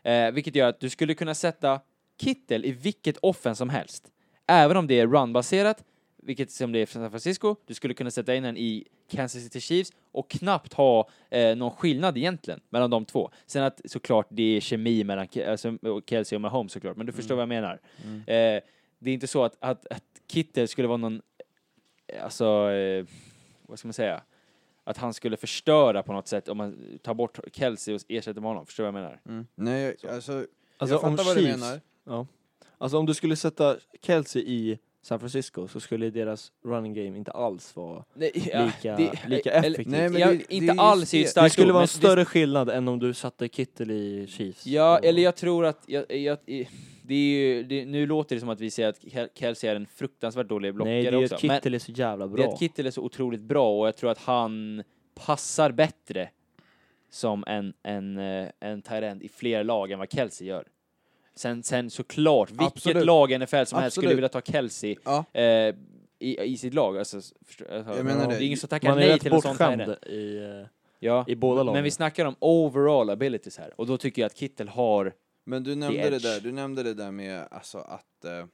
[SPEAKER 1] Eh, vilket gör att du skulle kunna sätta Kittel i vilket offen som helst. Även om det är runbaserat, vilket som det är för San Francisco, du skulle kunna sätta in den i Kansas City Chiefs och knappt ha eh, någon skillnad egentligen mellan de två. Sen att såklart det är kemi mellan Ke- alltså, och Kelsey och Mahomes såklart, men du förstår vad jag menar. Eh, det är inte så att, att, att Kittel skulle vara någon, eh, alltså, eh, vad ska man säga, att han skulle förstöra på något sätt om man tar bort Kelsey och ersätter med honom. Förstår du vad jag menar?
[SPEAKER 3] Mm. Nej, jag, alltså,
[SPEAKER 2] Alltså,
[SPEAKER 3] jag
[SPEAKER 2] om
[SPEAKER 3] fattar vad du
[SPEAKER 2] Chiefs-
[SPEAKER 3] menar.
[SPEAKER 2] Alltså om du skulle sätta Kelsey i San Francisco så skulle deras running game inte alls vara...
[SPEAKER 1] Nej,
[SPEAKER 2] Lika- lika effektivt.
[SPEAKER 1] Nej,
[SPEAKER 3] Nej,
[SPEAKER 1] men
[SPEAKER 3] men
[SPEAKER 1] jag,
[SPEAKER 3] det-
[SPEAKER 1] inte
[SPEAKER 3] det är ju
[SPEAKER 1] alls är ju
[SPEAKER 3] det.
[SPEAKER 1] starkt
[SPEAKER 2] det skulle
[SPEAKER 1] ord,
[SPEAKER 2] vara en
[SPEAKER 1] men
[SPEAKER 2] större skillnad än om du satte Kittel i Chiefs.
[SPEAKER 1] Ja,
[SPEAKER 2] Och-
[SPEAKER 1] eller jag tror att... Jag, jag, det är ju, det, nu låter det som att vi säger att Kel- Kelsey är en fruktansvärt dålig blockare
[SPEAKER 2] Nej, det är ju
[SPEAKER 1] också.
[SPEAKER 2] att
[SPEAKER 1] men
[SPEAKER 2] Kittel är så jävla bra.
[SPEAKER 1] det är att Kittel är så otroligt bra och jag tror att han passar bättre som en, en, eh, en tight-end i fler lag än vad Kelsey gör. Sen, sen såklart, vilket
[SPEAKER 3] Absolut.
[SPEAKER 1] lag i NFL som helst skulle
[SPEAKER 3] Absolut.
[SPEAKER 1] vilja ta Kelsey
[SPEAKER 3] Ja.
[SPEAKER 1] eh, i, i sitt lag. Alltså, förstår, alltså,
[SPEAKER 3] Jag menar
[SPEAKER 1] det är
[SPEAKER 3] det.
[SPEAKER 1] ingen som tackar
[SPEAKER 2] Man är
[SPEAKER 1] nej
[SPEAKER 2] rätt
[SPEAKER 1] till en sån
[SPEAKER 2] bortskämd
[SPEAKER 1] tight-end.
[SPEAKER 2] i, eh,
[SPEAKER 1] Ja.
[SPEAKER 2] i båda lagen.
[SPEAKER 1] Men vi snackar om overall abilities här, och då tycker jag att Kittel har...
[SPEAKER 3] Men du nämnde det
[SPEAKER 1] edge.
[SPEAKER 3] där, du nämnde det där med alltså att eh,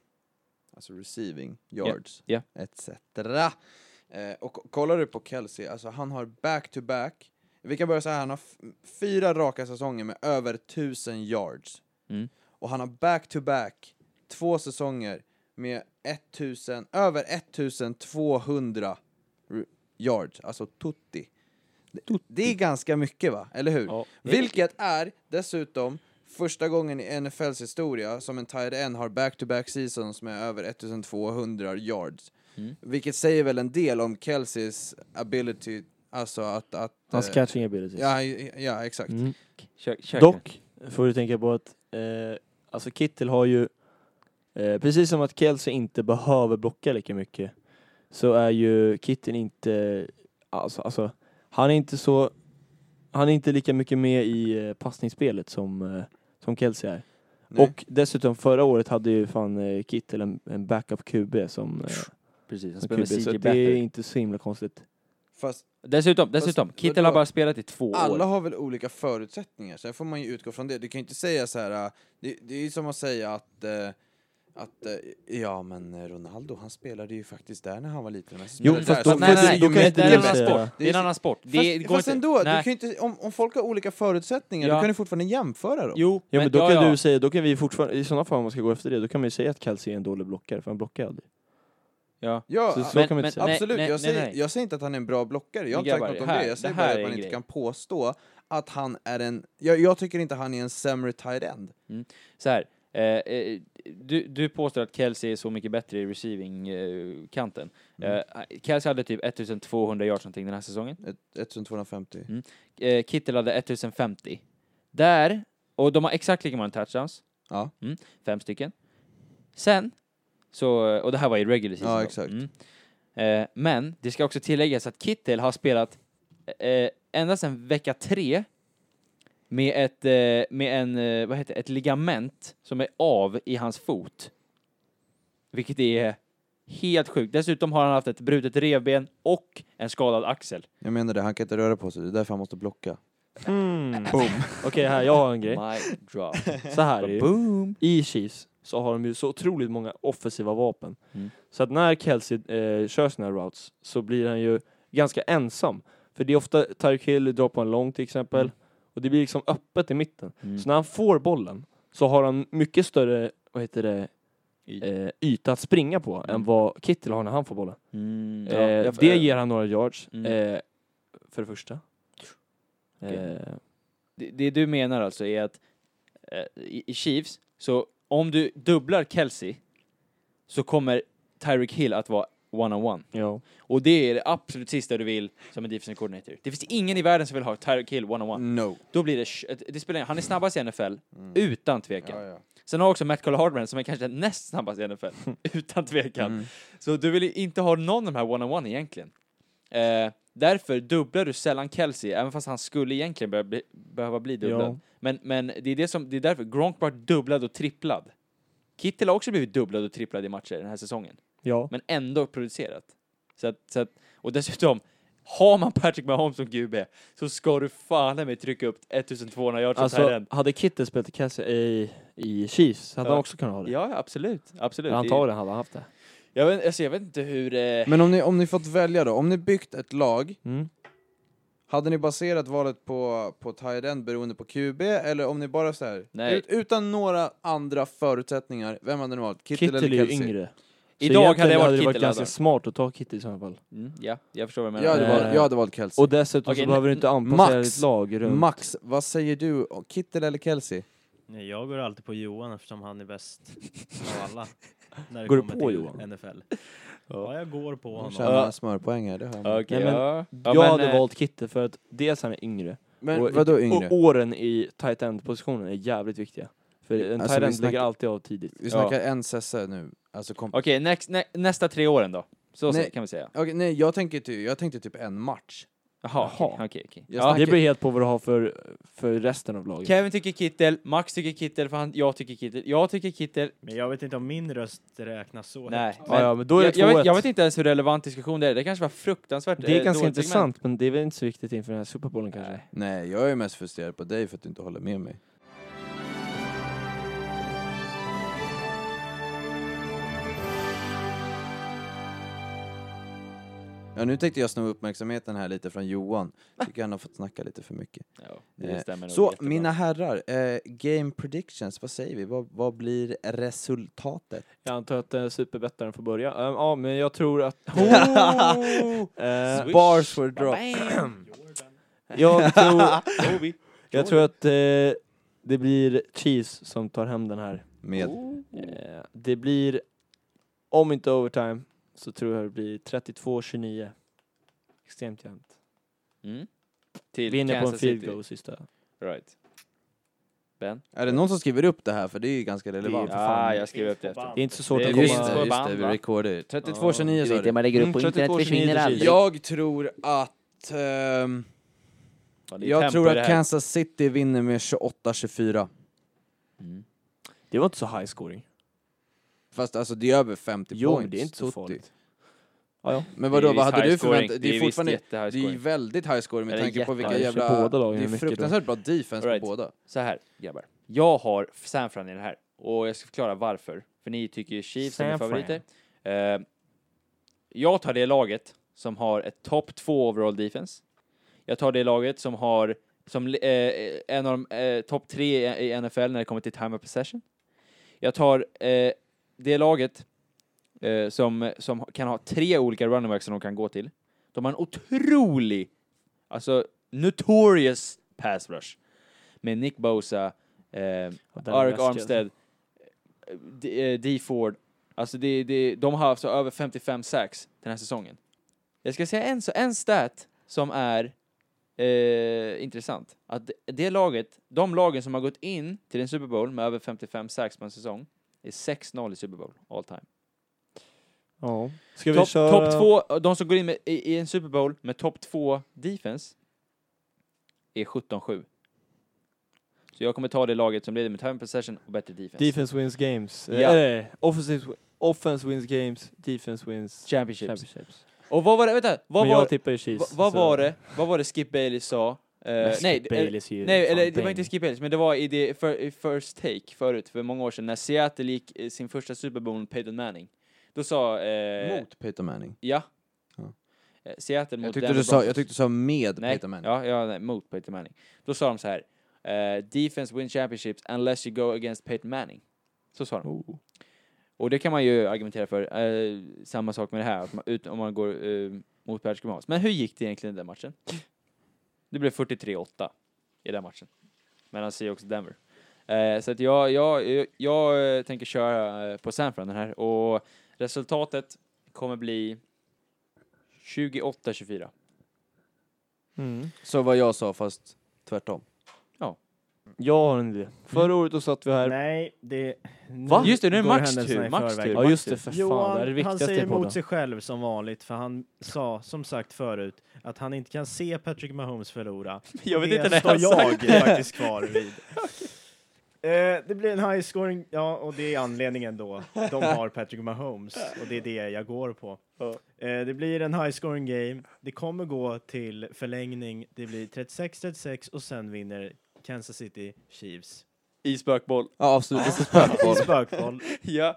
[SPEAKER 3] alltså receiving, yards,
[SPEAKER 1] ja.
[SPEAKER 3] etc. Eh, och k- kollar du på Kelsey, alltså han har back-to-back, vi kan börja säga han har f- fyra raka säsonger med över 1000 yards.
[SPEAKER 1] Mm.
[SPEAKER 3] Och han har back-to-back två säsonger med 1000, över 1200 r- yards, alltså tutti. Det- Det är ganska mycket va, eller hur?
[SPEAKER 2] Ja.
[SPEAKER 3] Vilket är dessutom första gången i NFLs historia som en tight end har back-to-back seasons med över 1200 yards.
[SPEAKER 2] Mm.
[SPEAKER 3] Vilket säger väl en del om Kelseys ability, alltså att... att
[SPEAKER 2] Hans
[SPEAKER 3] eh,
[SPEAKER 2] catching abilities.
[SPEAKER 3] ja, ja, exakt.
[SPEAKER 2] Mm.
[SPEAKER 1] Kör, kör
[SPEAKER 2] Dock får du tänka på att eh, alltså Kittel har ju, eh, precis som att Kelsey inte behöver blocka lika mycket, så är ju Kittel inte, alltså, alltså han är inte så, han är inte lika mycket med i eh, passningsspelet som, eh, som Kelsey är.
[SPEAKER 3] Nej.
[SPEAKER 2] Och dessutom förra året hade ju fan eh, Kittel en, en backup QB som, eh,
[SPEAKER 1] Precis, han
[SPEAKER 2] som
[SPEAKER 1] spelar
[SPEAKER 2] QB,
[SPEAKER 1] med
[SPEAKER 2] så
[SPEAKER 1] CJ
[SPEAKER 2] det är
[SPEAKER 1] Beathard.
[SPEAKER 2] inte så himla konstigt.
[SPEAKER 3] Fast
[SPEAKER 1] Dessutom, dessutom,
[SPEAKER 3] Fast-
[SPEAKER 1] Kittel har
[SPEAKER 3] vadå?
[SPEAKER 1] bara spelat i två
[SPEAKER 3] alla
[SPEAKER 1] år.
[SPEAKER 3] har väl olika förutsättningar, sen får man ju utgå från det. Du kan ju inte säga så här. äh, det, det är ju som att säga att eh, att, eh, ja men eh, Ronaldo han spelade ju faktiskt där när han var liten. men så
[SPEAKER 2] Jo,
[SPEAKER 3] spelade
[SPEAKER 2] fast
[SPEAKER 3] där,
[SPEAKER 2] då-
[SPEAKER 3] så
[SPEAKER 1] nej, nej,
[SPEAKER 3] det är
[SPEAKER 1] nej,
[SPEAKER 3] ju
[SPEAKER 2] då kan
[SPEAKER 1] men
[SPEAKER 2] inte
[SPEAKER 1] det är
[SPEAKER 2] du
[SPEAKER 1] en annan
[SPEAKER 2] säga-
[SPEAKER 1] sport. Det är en
[SPEAKER 3] Fast-
[SPEAKER 1] annan sport.
[SPEAKER 3] Fast,
[SPEAKER 1] Det går
[SPEAKER 3] fast
[SPEAKER 1] inte.
[SPEAKER 3] ändå,
[SPEAKER 1] Nej.
[SPEAKER 3] du kan ju inte, om, om folk har olika förutsättningar,
[SPEAKER 1] Ja.
[SPEAKER 3] du kan ju fortfarande jämföra dem.
[SPEAKER 1] Jo,
[SPEAKER 2] Ja, men, då kan du säga, då kan vi fortfarande, i sådana fall om man ska gå efter det, då kan man ju säga att Kelsey är en dålig blockare, för han blockar aldrig.
[SPEAKER 1] Ja.
[SPEAKER 3] Ja,
[SPEAKER 2] Så-
[SPEAKER 3] a-
[SPEAKER 2] så kan man inte
[SPEAKER 1] nej,
[SPEAKER 3] absolut.
[SPEAKER 1] nej,
[SPEAKER 3] jag,
[SPEAKER 1] nej,
[SPEAKER 3] säger,
[SPEAKER 1] nej.
[SPEAKER 3] jag säger inte att han är en bra blockare, jag har
[SPEAKER 1] Men
[SPEAKER 3] inte sagt
[SPEAKER 1] grabbar,
[SPEAKER 3] något om
[SPEAKER 1] det här-
[SPEAKER 3] det. Jag säger
[SPEAKER 1] det här
[SPEAKER 3] bara
[SPEAKER 1] är
[SPEAKER 3] att man
[SPEAKER 1] en
[SPEAKER 3] inte
[SPEAKER 1] grej.
[SPEAKER 3] kan påstå att han är en... Jag, jag tycker inte han är en sämre tight end.
[SPEAKER 1] Så här. Eh, eh, du, du påstår att Kelsey är så mycket bättre i receiving-kanten. Eh, Kelsey hade typ 1200 yards någonting den här säsongen.
[SPEAKER 3] Ett- 1250.
[SPEAKER 1] eh, Kittel hade 1050. Där Och de har exakt lika många touchdowns,
[SPEAKER 3] Ja.
[SPEAKER 1] mm, fem stycken. Sen, så, och det här var i regular season
[SPEAKER 3] Ja,
[SPEAKER 1] då.
[SPEAKER 3] exakt.
[SPEAKER 1] Mm. Eh, men det ska också tilläggas att Kittel har spelat eh, ända sedan vecka tre med ett, eh, med en, eh, vad heter det, ett ligament som är av i hans fot. Vilket är helt sjukt. Dessutom har han haft ett brutet revben och en skadad axel.
[SPEAKER 3] Jag menar det, han kan inte röra på sig, det är därför han måste blocka.
[SPEAKER 2] Boom. Okej, här, jag har en grej.
[SPEAKER 1] My drop.
[SPEAKER 2] Så här är det ju.
[SPEAKER 1] Boom!
[SPEAKER 2] i Chiefs så har de ju så otroligt många offensiva vapen.
[SPEAKER 1] Mm.
[SPEAKER 2] Så att när Kelsey eh, kör sina routes så blir han ju ganska ensam. För det är ofta Tyreek Hill drar på en lång till exempel
[SPEAKER 1] Mm.
[SPEAKER 2] och det blir liksom öppet i mitten.
[SPEAKER 3] Mm.
[SPEAKER 2] Så när han får bollen så har han mycket större, vad heter det, eh, yta att springa på än vad Kittel har när han får bollen.
[SPEAKER 1] Mm,
[SPEAKER 2] eh,
[SPEAKER 1] ja, jag-
[SPEAKER 2] det ger han några yards,
[SPEAKER 1] Mm.
[SPEAKER 2] eh, för det första. Eh,
[SPEAKER 1] det, det du menar alltså är att eh, i, i Chiefs, så om du dubblar Kelsey så kommer Tyreek Hill att vara one-on-one.
[SPEAKER 2] ja.
[SPEAKER 1] Och det är det absolut sista du vill som en defensive coordinator. Det finns ingen i världen som vill ha Tyreek Hill one-on-one.
[SPEAKER 3] No. Mm.
[SPEAKER 1] Då blir det... sh- ett- det spelar, ingen- han är snabbast i NFL, utan tvekan.
[SPEAKER 3] Ja, ja.
[SPEAKER 1] Sen har också Matt Hardman som är kanske den näst snabbaste i NFL, utan tvekan.
[SPEAKER 3] Mm.
[SPEAKER 1] Så du vill ju inte ha någon av de här one-on-one egentligen. Eh, därför dubblar du sällan Kelsey, även fast han skulle egentligen börja bli, behöva bli dubblad.
[SPEAKER 2] Ja.
[SPEAKER 1] Men, men det, är det, som, det är därför Gronk var dubblad och tripplad. Kittel har också blivit dubblad och tripplad i matcher den här säsongen,
[SPEAKER 2] ja.
[SPEAKER 1] men ändå producerat. Så att, så att, och dessutom, har man Patrick Mahomes som QB så ska du fan i mig trycka upp 1200 yards alltså,
[SPEAKER 2] Alltså, hade Kittel spelat i Cassie i, i Chiefs hade
[SPEAKER 1] Ja.
[SPEAKER 2] han också kunnat ha det.
[SPEAKER 1] Ja, ja, absolut. absolut. Det-
[SPEAKER 2] Antagligen hade han haft det.
[SPEAKER 1] Jag vet, alltså, jag vet inte hur... Eh,
[SPEAKER 3] Men om ni, om ni fått välja då, om ni byggt ett lag,
[SPEAKER 2] Mm.
[SPEAKER 3] hade ni baserat valet på, på tight-end beroende på QB, eller om ni bara så här,
[SPEAKER 1] Nej.
[SPEAKER 3] Ut, utan några andra förutsättningar, vem hade ni valt? Kittel,
[SPEAKER 2] Kittel är
[SPEAKER 3] eller
[SPEAKER 2] ju
[SPEAKER 3] Kelsey?
[SPEAKER 2] yngre.
[SPEAKER 1] Idag hade
[SPEAKER 2] egentligen
[SPEAKER 1] jag varit
[SPEAKER 2] det
[SPEAKER 1] Kittel,
[SPEAKER 2] ganska
[SPEAKER 1] hade jag.
[SPEAKER 2] smart att ta Kittel i så fall.
[SPEAKER 1] mm, ja, jag förstår vad du menar.
[SPEAKER 3] Jag hade,
[SPEAKER 2] Eh,
[SPEAKER 3] valt, jag hade valt Kelsey.
[SPEAKER 2] Och dessutom
[SPEAKER 1] Okej,
[SPEAKER 2] så behöver du inte anpassa
[SPEAKER 3] Max.
[SPEAKER 2] hela ditt lag runt.
[SPEAKER 3] Max, vad säger du? om Kittel eller Kelsey?
[SPEAKER 4] Nej, jag går alltid på Johan eftersom han är bäst av alla. När det
[SPEAKER 2] Går du
[SPEAKER 4] kommer
[SPEAKER 2] på
[SPEAKER 4] till
[SPEAKER 2] Johan?
[SPEAKER 4] NFL. Ja, jag går på
[SPEAKER 3] Hon
[SPEAKER 4] honom.
[SPEAKER 3] tjänar smörpoäng här, det hör man.
[SPEAKER 1] Okej,
[SPEAKER 2] Nej, men
[SPEAKER 1] ja. Ja,
[SPEAKER 2] jag
[SPEAKER 1] men,
[SPEAKER 2] hade
[SPEAKER 1] eh,
[SPEAKER 2] valt Kittel för att dels han är yngre,
[SPEAKER 3] Men
[SPEAKER 2] och-
[SPEAKER 3] vadå yngre?
[SPEAKER 2] och åren i tight end positionen är jävligt viktiga. För en
[SPEAKER 3] Alltså,
[SPEAKER 2] tight
[SPEAKER 3] vi
[SPEAKER 2] end
[SPEAKER 3] snackar-
[SPEAKER 2] lägger alltid av tidigt.
[SPEAKER 3] Vi snackar en sesse nu, alltså kom...
[SPEAKER 1] Okej, next, nä, nästa tre åren då? Så
[SPEAKER 3] Nej.
[SPEAKER 1] kan vi säga.
[SPEAKER 3] Okej, nej, jag, tänker ty- jag tänkte typ en match.
[SPEAKER 1] Jaha,
[SPEAKER 2] Jaha.
[SPEAKER 1] okej, okej. okej.
[SPEAKER 3] Jag
[SPEAKER 1] Ja,
[SPEAKER 3] snackar-
[SPEAKER 2] Det beror helt på vad du har för, för resten av laget.
[SPEAKER 1] Typ. Kevin tycker Kittel, Max tycker Kittel, för han, jag tycker Kittel, jag tycker Kittel.
[SPEAKER 4] Men jag vet inte om min röst räknas så
[SPEAKER 1] Nej.
[SPEAKER 4] högt.
[SPEAKER 2] Ja, ja, men då är det
[SPEAKER 1] jag, jag, vet,
[SPEAKER 2] 2-1.
[SPEAKER 1] jag vet inte ens hur relevant diskussion det är, det kanske var fruktansvärt
[SPEAKER 2] Det är
[SPEAKER 1] eh,
[SPEAKER 2] ganska
[SPEAKER 1] dåligt segment.
[SPEAKER 2] intressant, men det är väl inte så viktigt inför den här Superbowlen kanske.
[SPEAKER 1] Nej.
[SPEAKER 3] Nej, jag är mest frustrerad på dig för att du inte håller med mig. Ja, nu tänkte jag sno uppmärksamheten här lite från Johan. Tycker han har fått snacka lite för mycket.
[SPEAKER 1] Ja,
[SPEAKER 3] Eh,
[SPEAKER 1] det stämmer nog
[SPEAKER 3] Så,
[SPEAKER 1] jättebra.
[SPEAKER 3] mina herrar, eh, game predictions, vad säger vi? Vad, vad blir resultatet?
[SPEAKER 2] Jag antar att eh, superbettaren får börja. Ehm, ja, men jag tror att... Eh,
[SPEAKER 1] Swish.
[SPEAKER 3] Bars for drop.
[SPEAKER 1] Bam!
[SPEAKER 2] jag tror,
[SPEAKER 1] Obi.
[SPEAKER 2] jag tror att eh, det blir Chiefs som tar hem den här.
[SPEAKER 3] Med
[SPEAKER 2] Eh, det blir, om inte overtime, så tror jag det blir 32-29. Extremt jämnt.
[SPEAKER 1] Mm. Till
[SPEAKER 2] Vinner på en
[SPEAKER 1] Kansas
[SPEAKER 2] field
[SPEAKER 1] City.
[SPEAKER 2] goal sista.
[SPEAKER 1] Right. Ben?
[SPEAKER 3] Är det någon som skriver upp det här? För det är ju ganska relevant.
[SPEAKER 2] för
[SPEAKER 1] Ja,
[SPEAKER 2] fan.
[SPEAKER 1] ah, jag skriver upp det efter.
[SPEAKER 2] Det är inte så svårt
[SPEAKER 1] Det
[SPEAKER 2] att
[SPEAKER 1] är
[SPEAKER 3] just
[SPEAKER 1] vinst
[SPEAKER 2] komma...
[SPEAKER 1] på
[SPEAKER 3] det, just det,
[SPEAKER 1] band,
[SPEAKER 3] vi
[SPEAKER 1] va?
[SPEAKER 3] recordar 32 29 sa du.
[SPEAKER 6] man lägger
[SPEAKER 2] Mm, 32, 29
[SPEAKER 3] Jag tror att... ehm,
[SPEAKER 1] Ja, det är
[SPEAKER 3] jag
[SPEAKER 1] tempo
[SPEAKER 3] tror
[SPEAKER 1] i det
[SPEAKER 3] att
[SPEAKER 1] här.
[SPEAKER 3] Kansas City vinner med 28-24.
[SPEAKER 1] Mm.
[SPEAKER 2] Det var inte så high scoring.
[SPEAKER 3] Fast alltså det är över 50
[SPEAKER 2] Jo, men
[SPEAKER 3] points.
[SPEAKER 2] det är inte så
[SPEAKER 3] 70.
[SPEAKER 2] farligt. Ja, ja.
[SPEAKER 3] Men
[SPEAKER 1] Det
[SPEAKER 3] vadå,
[SPEAKER 1] är
[SPEAKER 3] vad
[SPEAKER 1] visst
[SPEAKER 3] hade du
[SPEAKER 1] high scoring.
[SPEAKER 3] förväntat Det är
[SPEAKER 1] visst
[SPEAKER 3] fortfarande...
[SPEAKER 1] jättehigh
[SPEAKER 3] Det är ju
[SPEAKER 1] scoring.
[SPEAKER 3] väldigt high scoring med
[SPEAKER 1] Eller
[SPEAKER 3] tanke på vilka
[SPEAKER 1] jätte-
[SPEAKER 3] jävla...
[SPEAKER 2] båda lagen
[SPEAKER 3] det
[SPEAKER 2] är
[SPEAKER 3] är
[SPEAKER 2] mycket då.
[SPEAKER 3] fruktansvärt bra defense
[SPEAKER 1] Alright.
[SPEAKER 3] på båda.
[SPEAKER 1] Så här, grabbar. Jag har San Fran i det här. Och jag ska förklara varför. För ni tycker ju Chiefs är mina
[SPEAKER 2] San Fran.
[SPEAKER 1] favoriter. Eh, jag tar det laget som har ett topp 2 overall defense. Jag tar det laget som har som eh, en av de eh, topp 3 i, i NFL när det kommer till time of possession. Jag tar eh, det laget eh, som, som kan ha tre olika running backs som de kan gå till. De har en otrolig, alltså notorious pass rush. Med Nick Bosa, eh,
[SPEAKER 2] Ja, den är
[SPEAKER 1] Arik
[SPEAKER 2] läskig, alltså.
[SPEAKER 1] Armstead, eh, D, eh, D Ford. Alltså det, det, de har alltså över 55 sacks den här säsongen. Jag ska säga en, så- en stat som är eh, intressant. Att det- det laget, de lagen som har gått in till en Super Bowl med över 55 sacks på en säsong, är 6-0 i Super Bowl all time.
[SPEAKER 2] Ja. Ska vi
[SPEAKER 1] Topp
[SPEAKER 2] köra...
[SPEAKER 1] top två, de som går in med, i, i en Super Bowl med topp två defense är 17-7. Så jag kommer ta det laget som leder med time possession och bättre defense.
[SPEAKER 2] Defense wins games.
[SPEAKER 1] Ja.
[SPEAKER 2] Yeah. offensive, offense wins games, defense wins
[SPEAKER 1] Championships.
[SPEAKER 2] championships.
[SPEAKER 1] Och vad var det, vänta, vad
[SPEAKER 2] Men jag
[SPEAKER 1] var,
[SPEAKER 2] tippar ju Chiefs.
[SPEAKER 1] vad, vad
[SPEAKER 2] så-
[SPEAKER 1] var det, vad var det Skip Bailey sa? Eh,
[SPEAKER 2] Men
[SPEAKER 1] nej,
[SPEAKER 2] Skip
[SPEAKER 1] det-
[SPEAKER 2] Bayless är ju
[SPEAKER 1] Nej,
[SPEAKER 2] fan
[SPEAKER 1] eller det var
[SPEAKER 2] bäng.
[SPEAKER 1] inte Skip Bayless, men det var i, det, för, i First Take förut, för många år sedan, när Seattle gick eh, sin första Super Bowl mot Peyton Manning. Då sa... Eh,
[SPEAKER 3] Mot Peter Manning.
[SPEAKER 1] Ja.
[SPEAKER 3] Ja.
[SPEAKER 1] Eh, Seattle mot
[SPEAKER 3] Jag tyckte,
[SPEAKER 1] Denver
[SPEAKER 3] du sa,
[SPEAKER 1] Broncos.
[SPEAKER 3] jag tyckte du sa med
[SPEAKER 1] nej,
[SPEAKER 3] Peter Manning.
[SPEAKER 1] Ja, ja, nej, mot Peyton Manning. Då sa de så här, eh, defense win championships unless you go against Peyton Manning. Så sa de.
[SPEAKER 2] Oh.
[SPEAKER 1] Och det kan man ju argumentera för, eh, samma sak med det här, att man, ut, om man går eh, mot Patrick Mahomes. Men hur gick det egentligen i den matchen? Det blev 43-8 i den matchen. Mellan Seahawks och Denver. Eh, så att jag, jag, jag, jag eh, tänker köra eh, på Sanfran den här och resultatet kommer bli 28-24.
[SPEAKER 2] Mm.
[SPEAKER 3] Så vad jag sa fast tvärtom.
[SPEAKER 2] Jag har en idé. Förra året då satt vi här.
[SPEAKER 4] Nej, det... nu
[SPEAKER 1] Va? Just det, nu är
[SPEAKER 4] går
[SPEAKER 1] Max
[SPEAKER 4] händelserna
[SPEAKER 1] tur,
[SPEAKER 4] i
[SPEAKER 1] Max
[SPEAKER 4] förväg.
[SPEAKER 1] tur.
[SPEAKER 2] Ja just det, för fan. Det här är det
[SPEAKER 4] Johan, han
[SPEAKER 2] viktigaste
[SPEAKER 4] säger
[SPEAKER 2] i podden.
[SPEAKER 4] emot sig själv som vanligt, för han sa som sagt förut att han inte kan se Patrick Mahomes förlora.
[SPEAKER 1] Jag vet
[SPEAKER 4] det
[SPEAKER 1] inte när
[SPEAKER 4] står
[SPEAKER 1] jag har
[SPEAKER 4] jag
[SPEAKER 1] sagt det.
[SPEAKER 4] faktiskt kvar vid. Eh, det blir en high scoring, ja, och det är anledningen då. De har Patrick Mahomes, och det är det jag går på. Eh, det blir en high scoring game, det kommer gå till förlängning, det blir 36-36 och sen vinner Kansas City Chiefs.
[SPEAKER 1] I spökboll.
[SPEAKER 3] Ja, absolut. Spökboll.
[SPEAKER 4] Spökboll,
[SPEAKER 1] Ja.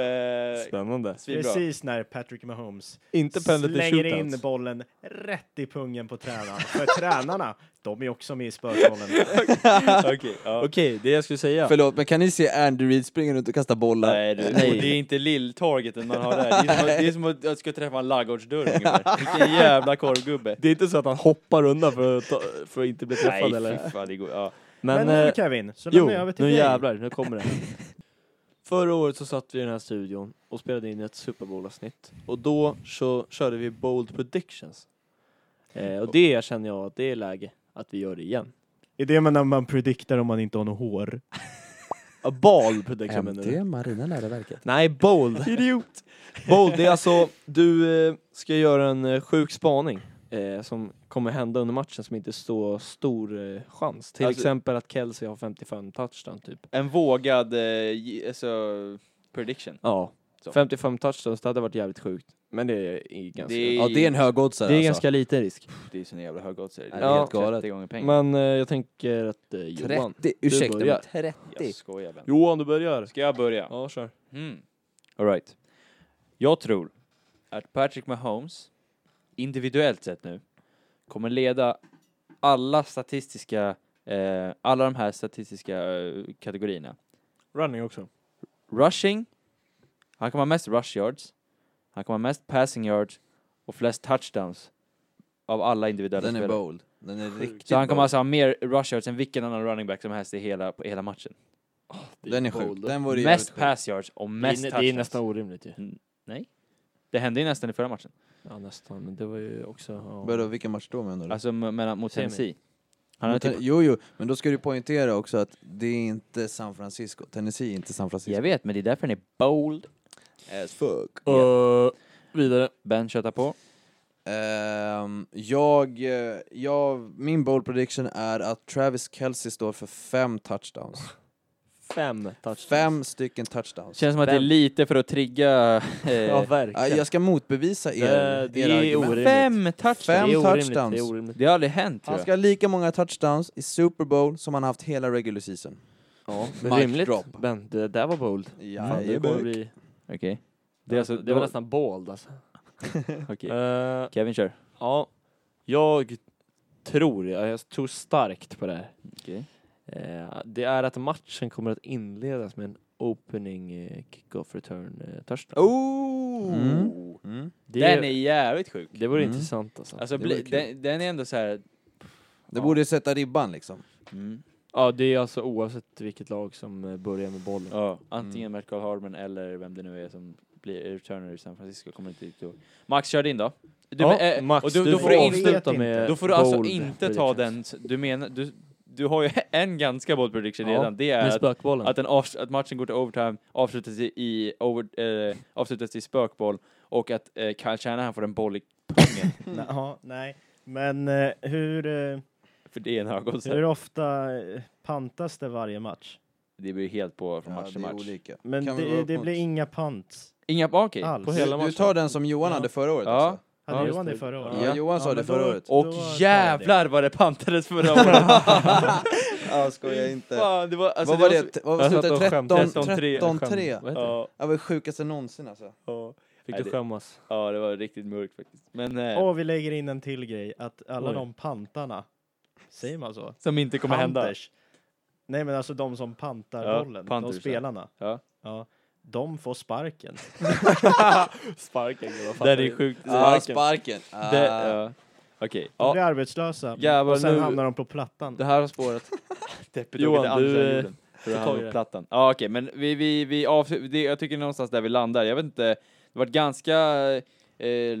[SPEAKER 1] Eh,
[SPEAKER 2] Spännande.
[SPEAKER 1] svinbra.
[SPEAKER 4] precis när Patrick Mahomes
[SPEAKER 2] Inte penalty
[SPEAKER 4] slänger in
[SPEAKER 2] shootouts.
[SPEAKER 4] bollen rätt i pungen på tränaren. För tränarna, de är också med i spökbollen.
[SPEAKER 1] Okej, ja.
[SPEAKER 2] Okej, det jag skulle säga.
[SPEAKER 3] Förlåt, men kan ni se Andy Reid springa runt och kasta bollar?
[SPEAKER 1] Nej, du, nej, det är inte lilltargeten man har där. Det är som att, det är som att jag ska träffa en ladugårdsdörr ungefär. Vilken jävla korvgubbe.
[SPEAKER 2] Det är inte så att han hoppar undan för att, ta, för att inte bli träffad
[SPEAKER 1] nej,
[SPEAKER 2] eller?
[SPEAKER 1] fy fan, det går... Ja.
[SPEAKER 2] Men,
[SPEAKER 4] Men, nu
[SPEAKER 2] eh,
[SPEAKER 4] Kevin, så
[SPEAKER 2] jo,
[SPEAKER 4] lämnar jag över till
[SPEAKER 2] nu
[SPEAKER 4] dig.
[SPEAKER 2] jävlar, nu kommer det. Förra året så satt vi i den här studion och spelade in ett Super Bowl-avsnitt. Och då så körde vi Bold Predictions. Eh, och det känner jag att det är läge att vi gör det igen.
[SPEAKER 4] Är det när man prediktar om man inte har något hår?
[SPEAKER 2] A ball prediction
[SPEAKER 1] liksom
[SPEAKER 2] menar du?
[SPEAKER 3] Marina läroverket.
[SPEAKER 2] Nej, bold. Idiot. Bold, det är alltså, du eh, ska göra en eh, sjuk spaning eh, som kommer hända under matchen som inte står stor eh, chans. Till
[SPEAKER 1] Alltså-
[SPEAKER 2] exempel att Kelsey har 55 touchdown typ.
[SPEAKER 1] En vågad, eh, ge- alltså, prediction.
[SPEAKER 2] Ja.
[SPEAKER 1] Så.
[SPEAKER 2] 55 touchdowns, det hade varit jävligt sjukt. Men det är ganska,
[SPEAKER 1] Det är-
[SPEAKER 2] det
[SPEAKER 3] Ja, det är en högoddsare
[SPEAKER 2] är
[SPEAKER 3] alltså.
[SPEAKER 2] ganska liten risk.
[SPEAKER 1] Pff, Det är sån jävla hög odds. Det
[SPEAKER 3] Ja,
[SPEAKER 1] är
[SPEAKER 3] det är helt
[SPEAKER 1] 30
[SPEAKER 3] galet.
[SPEAKER 1] gånger pengar.
[SPEAKER 2] Men eh, jag tänker att eh, Johan.
[SPEAKER 3] 30, ursäkta
[SPEAKER 2] börjar.
[SPEAKER 3] men 30.
[SPEAKER 1] Jag skojar Ben.
[SPEAKER 2] Johan, du börjar.
[SPEAKER 1] Ska jag börja?
[SPEAKER 2] Ja, kör.
[SPEAKER 1] Mm. All right. Jag tror att Patrick Mahomes, individuellt sett nu, kommer leda alla statistiska, eh, alla de här statistiska eh, kategorierna.
[SPEAKER 2] Running också.
[SPEAKER 1] Rushing, han kommer ha mest rush yards, han kommer ha mest passing yards och flest touchdowns av alla individuella
[SPEAKER 3] Den är
[SPEAKER 1] spelare.
[SPEAKER 3] bold. Den är riktigt
[SPEAKER 1] Så han kommer
[SPEAKER 3] bold.
[SPEAKER 1] alltså ha mer rush yards än vilken annan running back som helst i hela, på hela matchen.
[SPEAKER 3] Den är sjuk. Den vore jävligt
[SPEAKER 1] Mest
[SPEAKER 3] sjuk.
[SPEAKER 1] pass yards och mest
[SPEAKER 2] det, är, det är
[SPEAKER 1] touchdowns.
[SPEAKER 2] nästan orimligt ju.
[SPEAKER 1] Det hände ju nästan i förra matchen.
[SPEAKER 2] Ja, nästan. Men det var ju också... Ja.
[SPEAKER 3] Vadå, vilken match då menar du?
[SPEAKER 1] Alltså m- mellan, mot
[SPEAKER 2] Semi.
[SPEAKER 1] Tennessee. Han har
[SPEAKER 3] Mot-
[SPEAKER 1] typ,
[SPEAKER 3] Jo, jo, men då ska du poängtera också att det är inte San Francisco. Tennessee är inte San Francisco.
[SPEAKER 1] jag vet, men det är därför den är bold.
[SPEAKER 3] As fuck.
[SPEAKER 2] Eh, vidare.
[SPEAKER 1] Ben köttar på.
[SPEAKER 3] Ehm, jag, eh, jag, min bold prediction är att Travis Kelce står för fem touchdowns.
[SPEAKER 2] Fem touchdowns.
[SPEAKER 3] Fem stycken touchdowns.
[SPEAKER 1] Känns som att det är lite för att trigga... Eh,
[SPEAKER 2] Ja,
[SPEAKER 3] Ja,
[SPEAKER 2] verkligen.
[SPEAKER 3] jag ska motbevisa er,
[SPEAKER 2] Det- det
[SPEAKER 3] era
[SPEAKER 2] är
[SPEAKER 3] argument.
[SPEAKER 2] orimligt.
[SPEAKER 1] fem touchdowns!
[SPEAKER 3] Fem
[SPEAKER 2] det är orimligt,
[SPEAKER 3] touchdowns.
[SPEAKER 2] Det är orimligt.
[SPEAKER 1] Det har aldrig hänt tror
[SPEAKER 3] Han
[SPEAKER 1] jag.
[SPEAKER 3] ska ha lika många touchdowns i Super Bowl som han haft hela regular season.
[SPEAKER 2] Ja,
[SPEAKER 3] men rimligt.
[SPEAKER 2] Ben, det där var bold.
[SPEAKER 3] Ja,
[SPEAKER 2] Fan, det, kommer bli,
[SPEAKER 1] Okej.
[SPEAKER 2] det,
[SPEAKER 1] är alltså-
[SPEAKER 2] det var nästan bold alltså.
[SPEAKER 1] Okej.
[SPEAKER 2] Eh,
[SPEAKER 1] Kevin kör.
[SPEAKER 2] ja, jag tror, ja, jag tror starkt på det här.
[SPEAKER 1] Okej.
[SPEAKER 2] Eh, det är att matchen kommer att inledas med en opening eh, kickoff return eh, touchdown.
[SPEAKER 1] Oh!
[SPEAKER 3] Mm. Mm.
[SPEAKER 2] det,
[SPEAKER 1] Den är jävligt sjuk.
[SPEAKER 2] det vore
[SPEAKER 3] Mm.
[SPEAKER 2] intressant alltså.
[SPEAKER 1] Alltså,
[SPEAKER 3] det
[SPEAKER 1] bli,
[SPEAKER 3] vore kul.
[SPEAKER 1] den, den är ändå så här...
[SPEAKER 3] Det borde sätta ribban liksom.
[SPEAKER 1] Mm.
[SPEAKER 2] Ja, det är alltså oavsett vilket lag som eh, börjar med bollen.
[SPEAKER 1] Ja, antingen Michael Harmon eller vem det nu är som blir returner i San Francisco. Kommer inte riktigt ihåg. Max, kör din då. Du,
[SPEAKER 2] Ja,
[SPEAKER 1] men, eh,
[SPEAKER 2] Max,
[SPEAKER 1] och du,
[SPEAKER 2] du
[SPEAKER 1] då får du,
[SPEAKER 4] får
[SPEAKER 1] inte,
[SPEAKER 4] avsluta med
[SPEAKER 1] då får du alltså
[SPEAKER 2] Eh, bold
[SPEAKER 1] inte ta den,
[SPEAKER 2] predictions.
[SPEAKER 1] du menar, du, du har ju en ganska bold prediction
[SPEAKER 2] Ja,
[SPEAKER 1] redan, det är
[SPEAKER 2] Med
[SPEAKER 1] att,
[SPEAKER 2] spökbollen.
[SPEAKER 1] att, en avs- att matchen går till overtime, avslutas i, i, over, eh, avslutas i spökboll och att eh, Kyle Shanahan får en boll i pungen,
[SPEAKER 3] Mm.
[SPEAKER 4] Jaha, nej. Men eh, hur, eh,
[SPEAKER 1] för det är en
[SPEAKER 4] hur
[SPEAKER 1] ögonsäck.
[SPEAKER 4] ofta eh, pantas det varje match?
[SPEAKER 1] Det blir helt på från
[SPEAKER 3] Ja,
[SPEAKER 1] match
[SPEAKER 3] det
[SPEAKER 1] till
[SPEAKER 3] är
[SPEAKER 1] match.
[SPEAKER 3] olika.
[SPEAKER 4] Men
[SPEAKER 3] Kan vi
[SPEAKER 4] det,
[SPEAKER 3] vara
[SPEAKER 4] det
[SPEAKER 3] upp
[SPEAKER 4] blir
[SPEAKER 3] mot-
[SPEAKER 4] inga pants
[SPEAKER 1] Inga, ah, okej.
[SPEAKER 4] alls.
[SPEAKER 2] på hela
[SPEAKER 3] Du
[SPEAKER 2] matchen.
[SPEAKER 3] tar den som Johan
[SPEAKER 4] Ja.
[SPEAKER 3] hade förra året
[SPEAKER 1] Ja.
[SPEAKER 3] alltså?
[SPEAKER 4] Hade
[SPEAKER 2] Ja,
[SPEAKER 4] Johan
[SPEAKER 2] just
[SPEAKER 4] det
[SPEAKER 2] det.
[SPEAKER 4] förra året?
[SPEAKER 3] Ja, Johan sa
[SPEAKER 4] men
[SPEAKER 3] det
[SPEAKER 4] då-
[SPEAKER 3] förra året.
[SPEAKER 1] Och
[SPEAKER 4] då tar jag det.
[SPEAKER 1] jävlar vad det pantades förra året!
[SPEAKER 3] Ja, skoja inte.
[SPEAKER 1] Fan, det var, alltså,
[SPEAKER 3] Vad var
[SPEAKER 1] så-
[SPEAKER 3] det? T- Vad
[SPEAKER 2] Jag
[SPEAKER 3] slutade
[SPEAKER 2] satt och
[SPEAKER 1] skämtade.
[SPEAKER 2] 13-3.
[SPEAKER 3] 13-3?
[SPEAKER 2] Vad heter det?
[SPEAKER 1] Ja,
[SPEAKER 3] Det var det sjukaste någonsin alltså.
[SPEAKER 1] ja.
[SPEAKER 2] Fick
[SPEAKER 1] Nej,
[SPEAKER 2] du
[SPEAKER 1] det-
[SPEAKER 2] skämmas?
[SPEAKER 1] ja, det var riktigt mörkt faktiskt. Men, eh,
[SPEAKER 4] Och vi lägger in en till grej, att alla
[SPEAKER 2] Oj.
[SPEAKER 4] de pantarna, säger man så?
[SPEAKER 1] som inte kommer hända.
[SPEAKER 4] Panters. Nej men alltså de som pantar
[SPEAKER 1] Ja,
[SPEAKER 4] bollen,
[SPEAKER 1] Panthers,
[SPEAKER 4] de
[SPEAKER 1] ja.
[SPEAKER 4] spelarna.
[SPEAKER 1] Ja.
[SPEAKER 4] Ja, de får sparken.
[SPEAKER 2] Sparken, vad
[SPEAKER 1] Det är sjukt.
[SPEAKER 3] Ah, sparken. Ah.
[SPEAKER 1] Det, ja. Okej.
[SPEAKER 4] De
[SPEAKER 1] Ja,
[SPEAKER 4] blir arbetslösa,
[SPEAKER 1] Jävlar,
[SPEAKER 4] och sen
[SPEAKER 1] nu-
[SPEAKER 4] hamnar de på plattan.
[SPEAKER 2] Det här har spårat.
[SPEAKER 1] deppigt
[SPEAKER 2] Johan,
[SPEAKER 1] Johan,
[SPEAKER 2] du, eh,
[SPEAKER 1] du...
[SPEAKER 2] du tar ju det.
[SPEAKER 1] plattan. Ja, okej, men vi, vi, vi avslutar, det, jag tycker någonstans där vi landar, jag vet inte, det var ganska eh,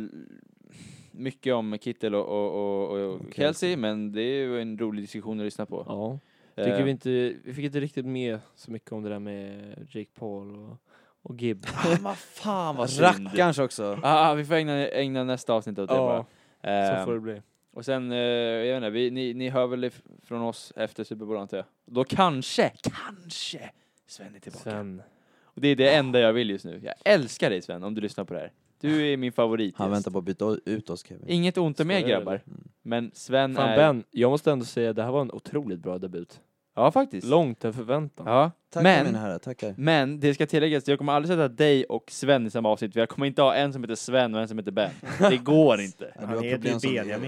[SPEAKER 1] mycket om Kittel och, och, och, och Kelsey, men det är ju en rolig diskussion att lyssna på.
[SPEAKER 2] Ja.
[SPEAKER 1] Eh,
[SPEAKER 2] Tycker vi, inte, vi fick inte riktigt med så mycket om det där med Jake Paul och, och Gibb.
[SPEAKER 1] ah, vad fan vad synd.
[SPEAKER 3] Rackarns också.
[SPEAKER 1] Ah, vi får ägna, ägna nästa avsnitt åt det
[SPEAKER 2] Ja,
[SPEAKER 1] bara.
[SPEAKER 2] så
[SPEAKER 1] Eh,
[SPEAKER 2] får det bli.
[SPEAKER 1] Och sen, eh, jag vet inte, vi, ni, ni hör väl if- från oss efter Super Bowl antar jag. Då kanske, kanske Sven är tillbaka.
[SPEAKER 2] Sen.
[SPEAKER 1] Och det är det enda jag vill just nu. Jag älskar dig Sven, om du lyssnar på det här. Du är min favorit.
[SPEAKER 3] Han väntar på att byta ut oss Kevin.
[SPEAKER 1] Inget ont om er
[SPEAKER 2] Skojar du,
[SPEAKER 1] grabbar,
[SPEAKER 3] eller? Mm.
[SPEAKER 1] men Sven
[SPEAKER 2] Fan
[SPEAKER 1] är...
[SPEAKER 2] Ben, jag måste ändå säga det här var en otroligt bra debut.
[SPEAKER 1] Ja, faktiskt.
[SPEAKER 2] Långt över förväntan.
[SPEAKER 1] Ja.
[SPEAKER 3] Tackar
[SPEAKER 1] Men-
[SPEAKER 3] mina herrar, tackar.
[SPEAKER 1] Men det ska tilläggas, jag kommer aldrig sätta dig och Sven i samma avsnitt, för jag kommer inte ha en som heter Sven och en som heter Ben. Det går inte.
[SPEAKER 3] Ja, du
[SPEAKER 4] Han
[SPEAKER 3] har
[SPEAKER 4] heter ju
[SPEAKER 3] problem som
[SPEAKER 4] Benjamin.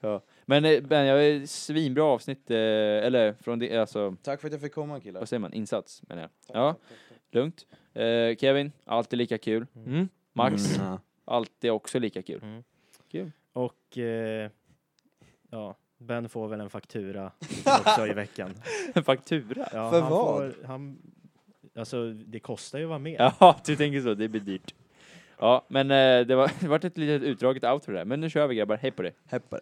[SPEAKER 3] Benjamin.
[SPEAKER 1] Men eh, Ben, jag är svinbra avsnitt, eh, eller från det, alltså,
[SPEAKER 3] Tack för att jag fick komma killar.
[SPEAKER 1] vad säger man, insats menar jag.
[SPEAKER 3] Tack,
[SPEAKER 1] Ja,
[SPEAKER 3] tack, tack, tack.
[SPEAKER 1] lugnt. Eh, Kevin, alltid lika kul.
[SPEAKER 2] Mm.
[SPEAKER 1] Max,
[SPEAKER 3] Mm, ja.
[SPEAKER 1] Allt är också lika kul.
[SPEAKER 4] Mm. Och eh, ja, Ben får väl en faktura också i veckan.
[SPEAKER 1] En faktura?
[SPEAKER 4] Ja,
[SPEAKER 3] För
[SPEAKER 4] han
[SPEAKER 3] vad?
[SPEAKER 4] Får, han, alltså det kostar ju att vara med.
[SPEAKER 1] Ja, du tänker så. Det blir dyrt. Ja, men eh, det var det vart ett litet utdraget outro där. Men nu kör vi grabbar. Hej på dig.
[SPEAKER 3] Heppar.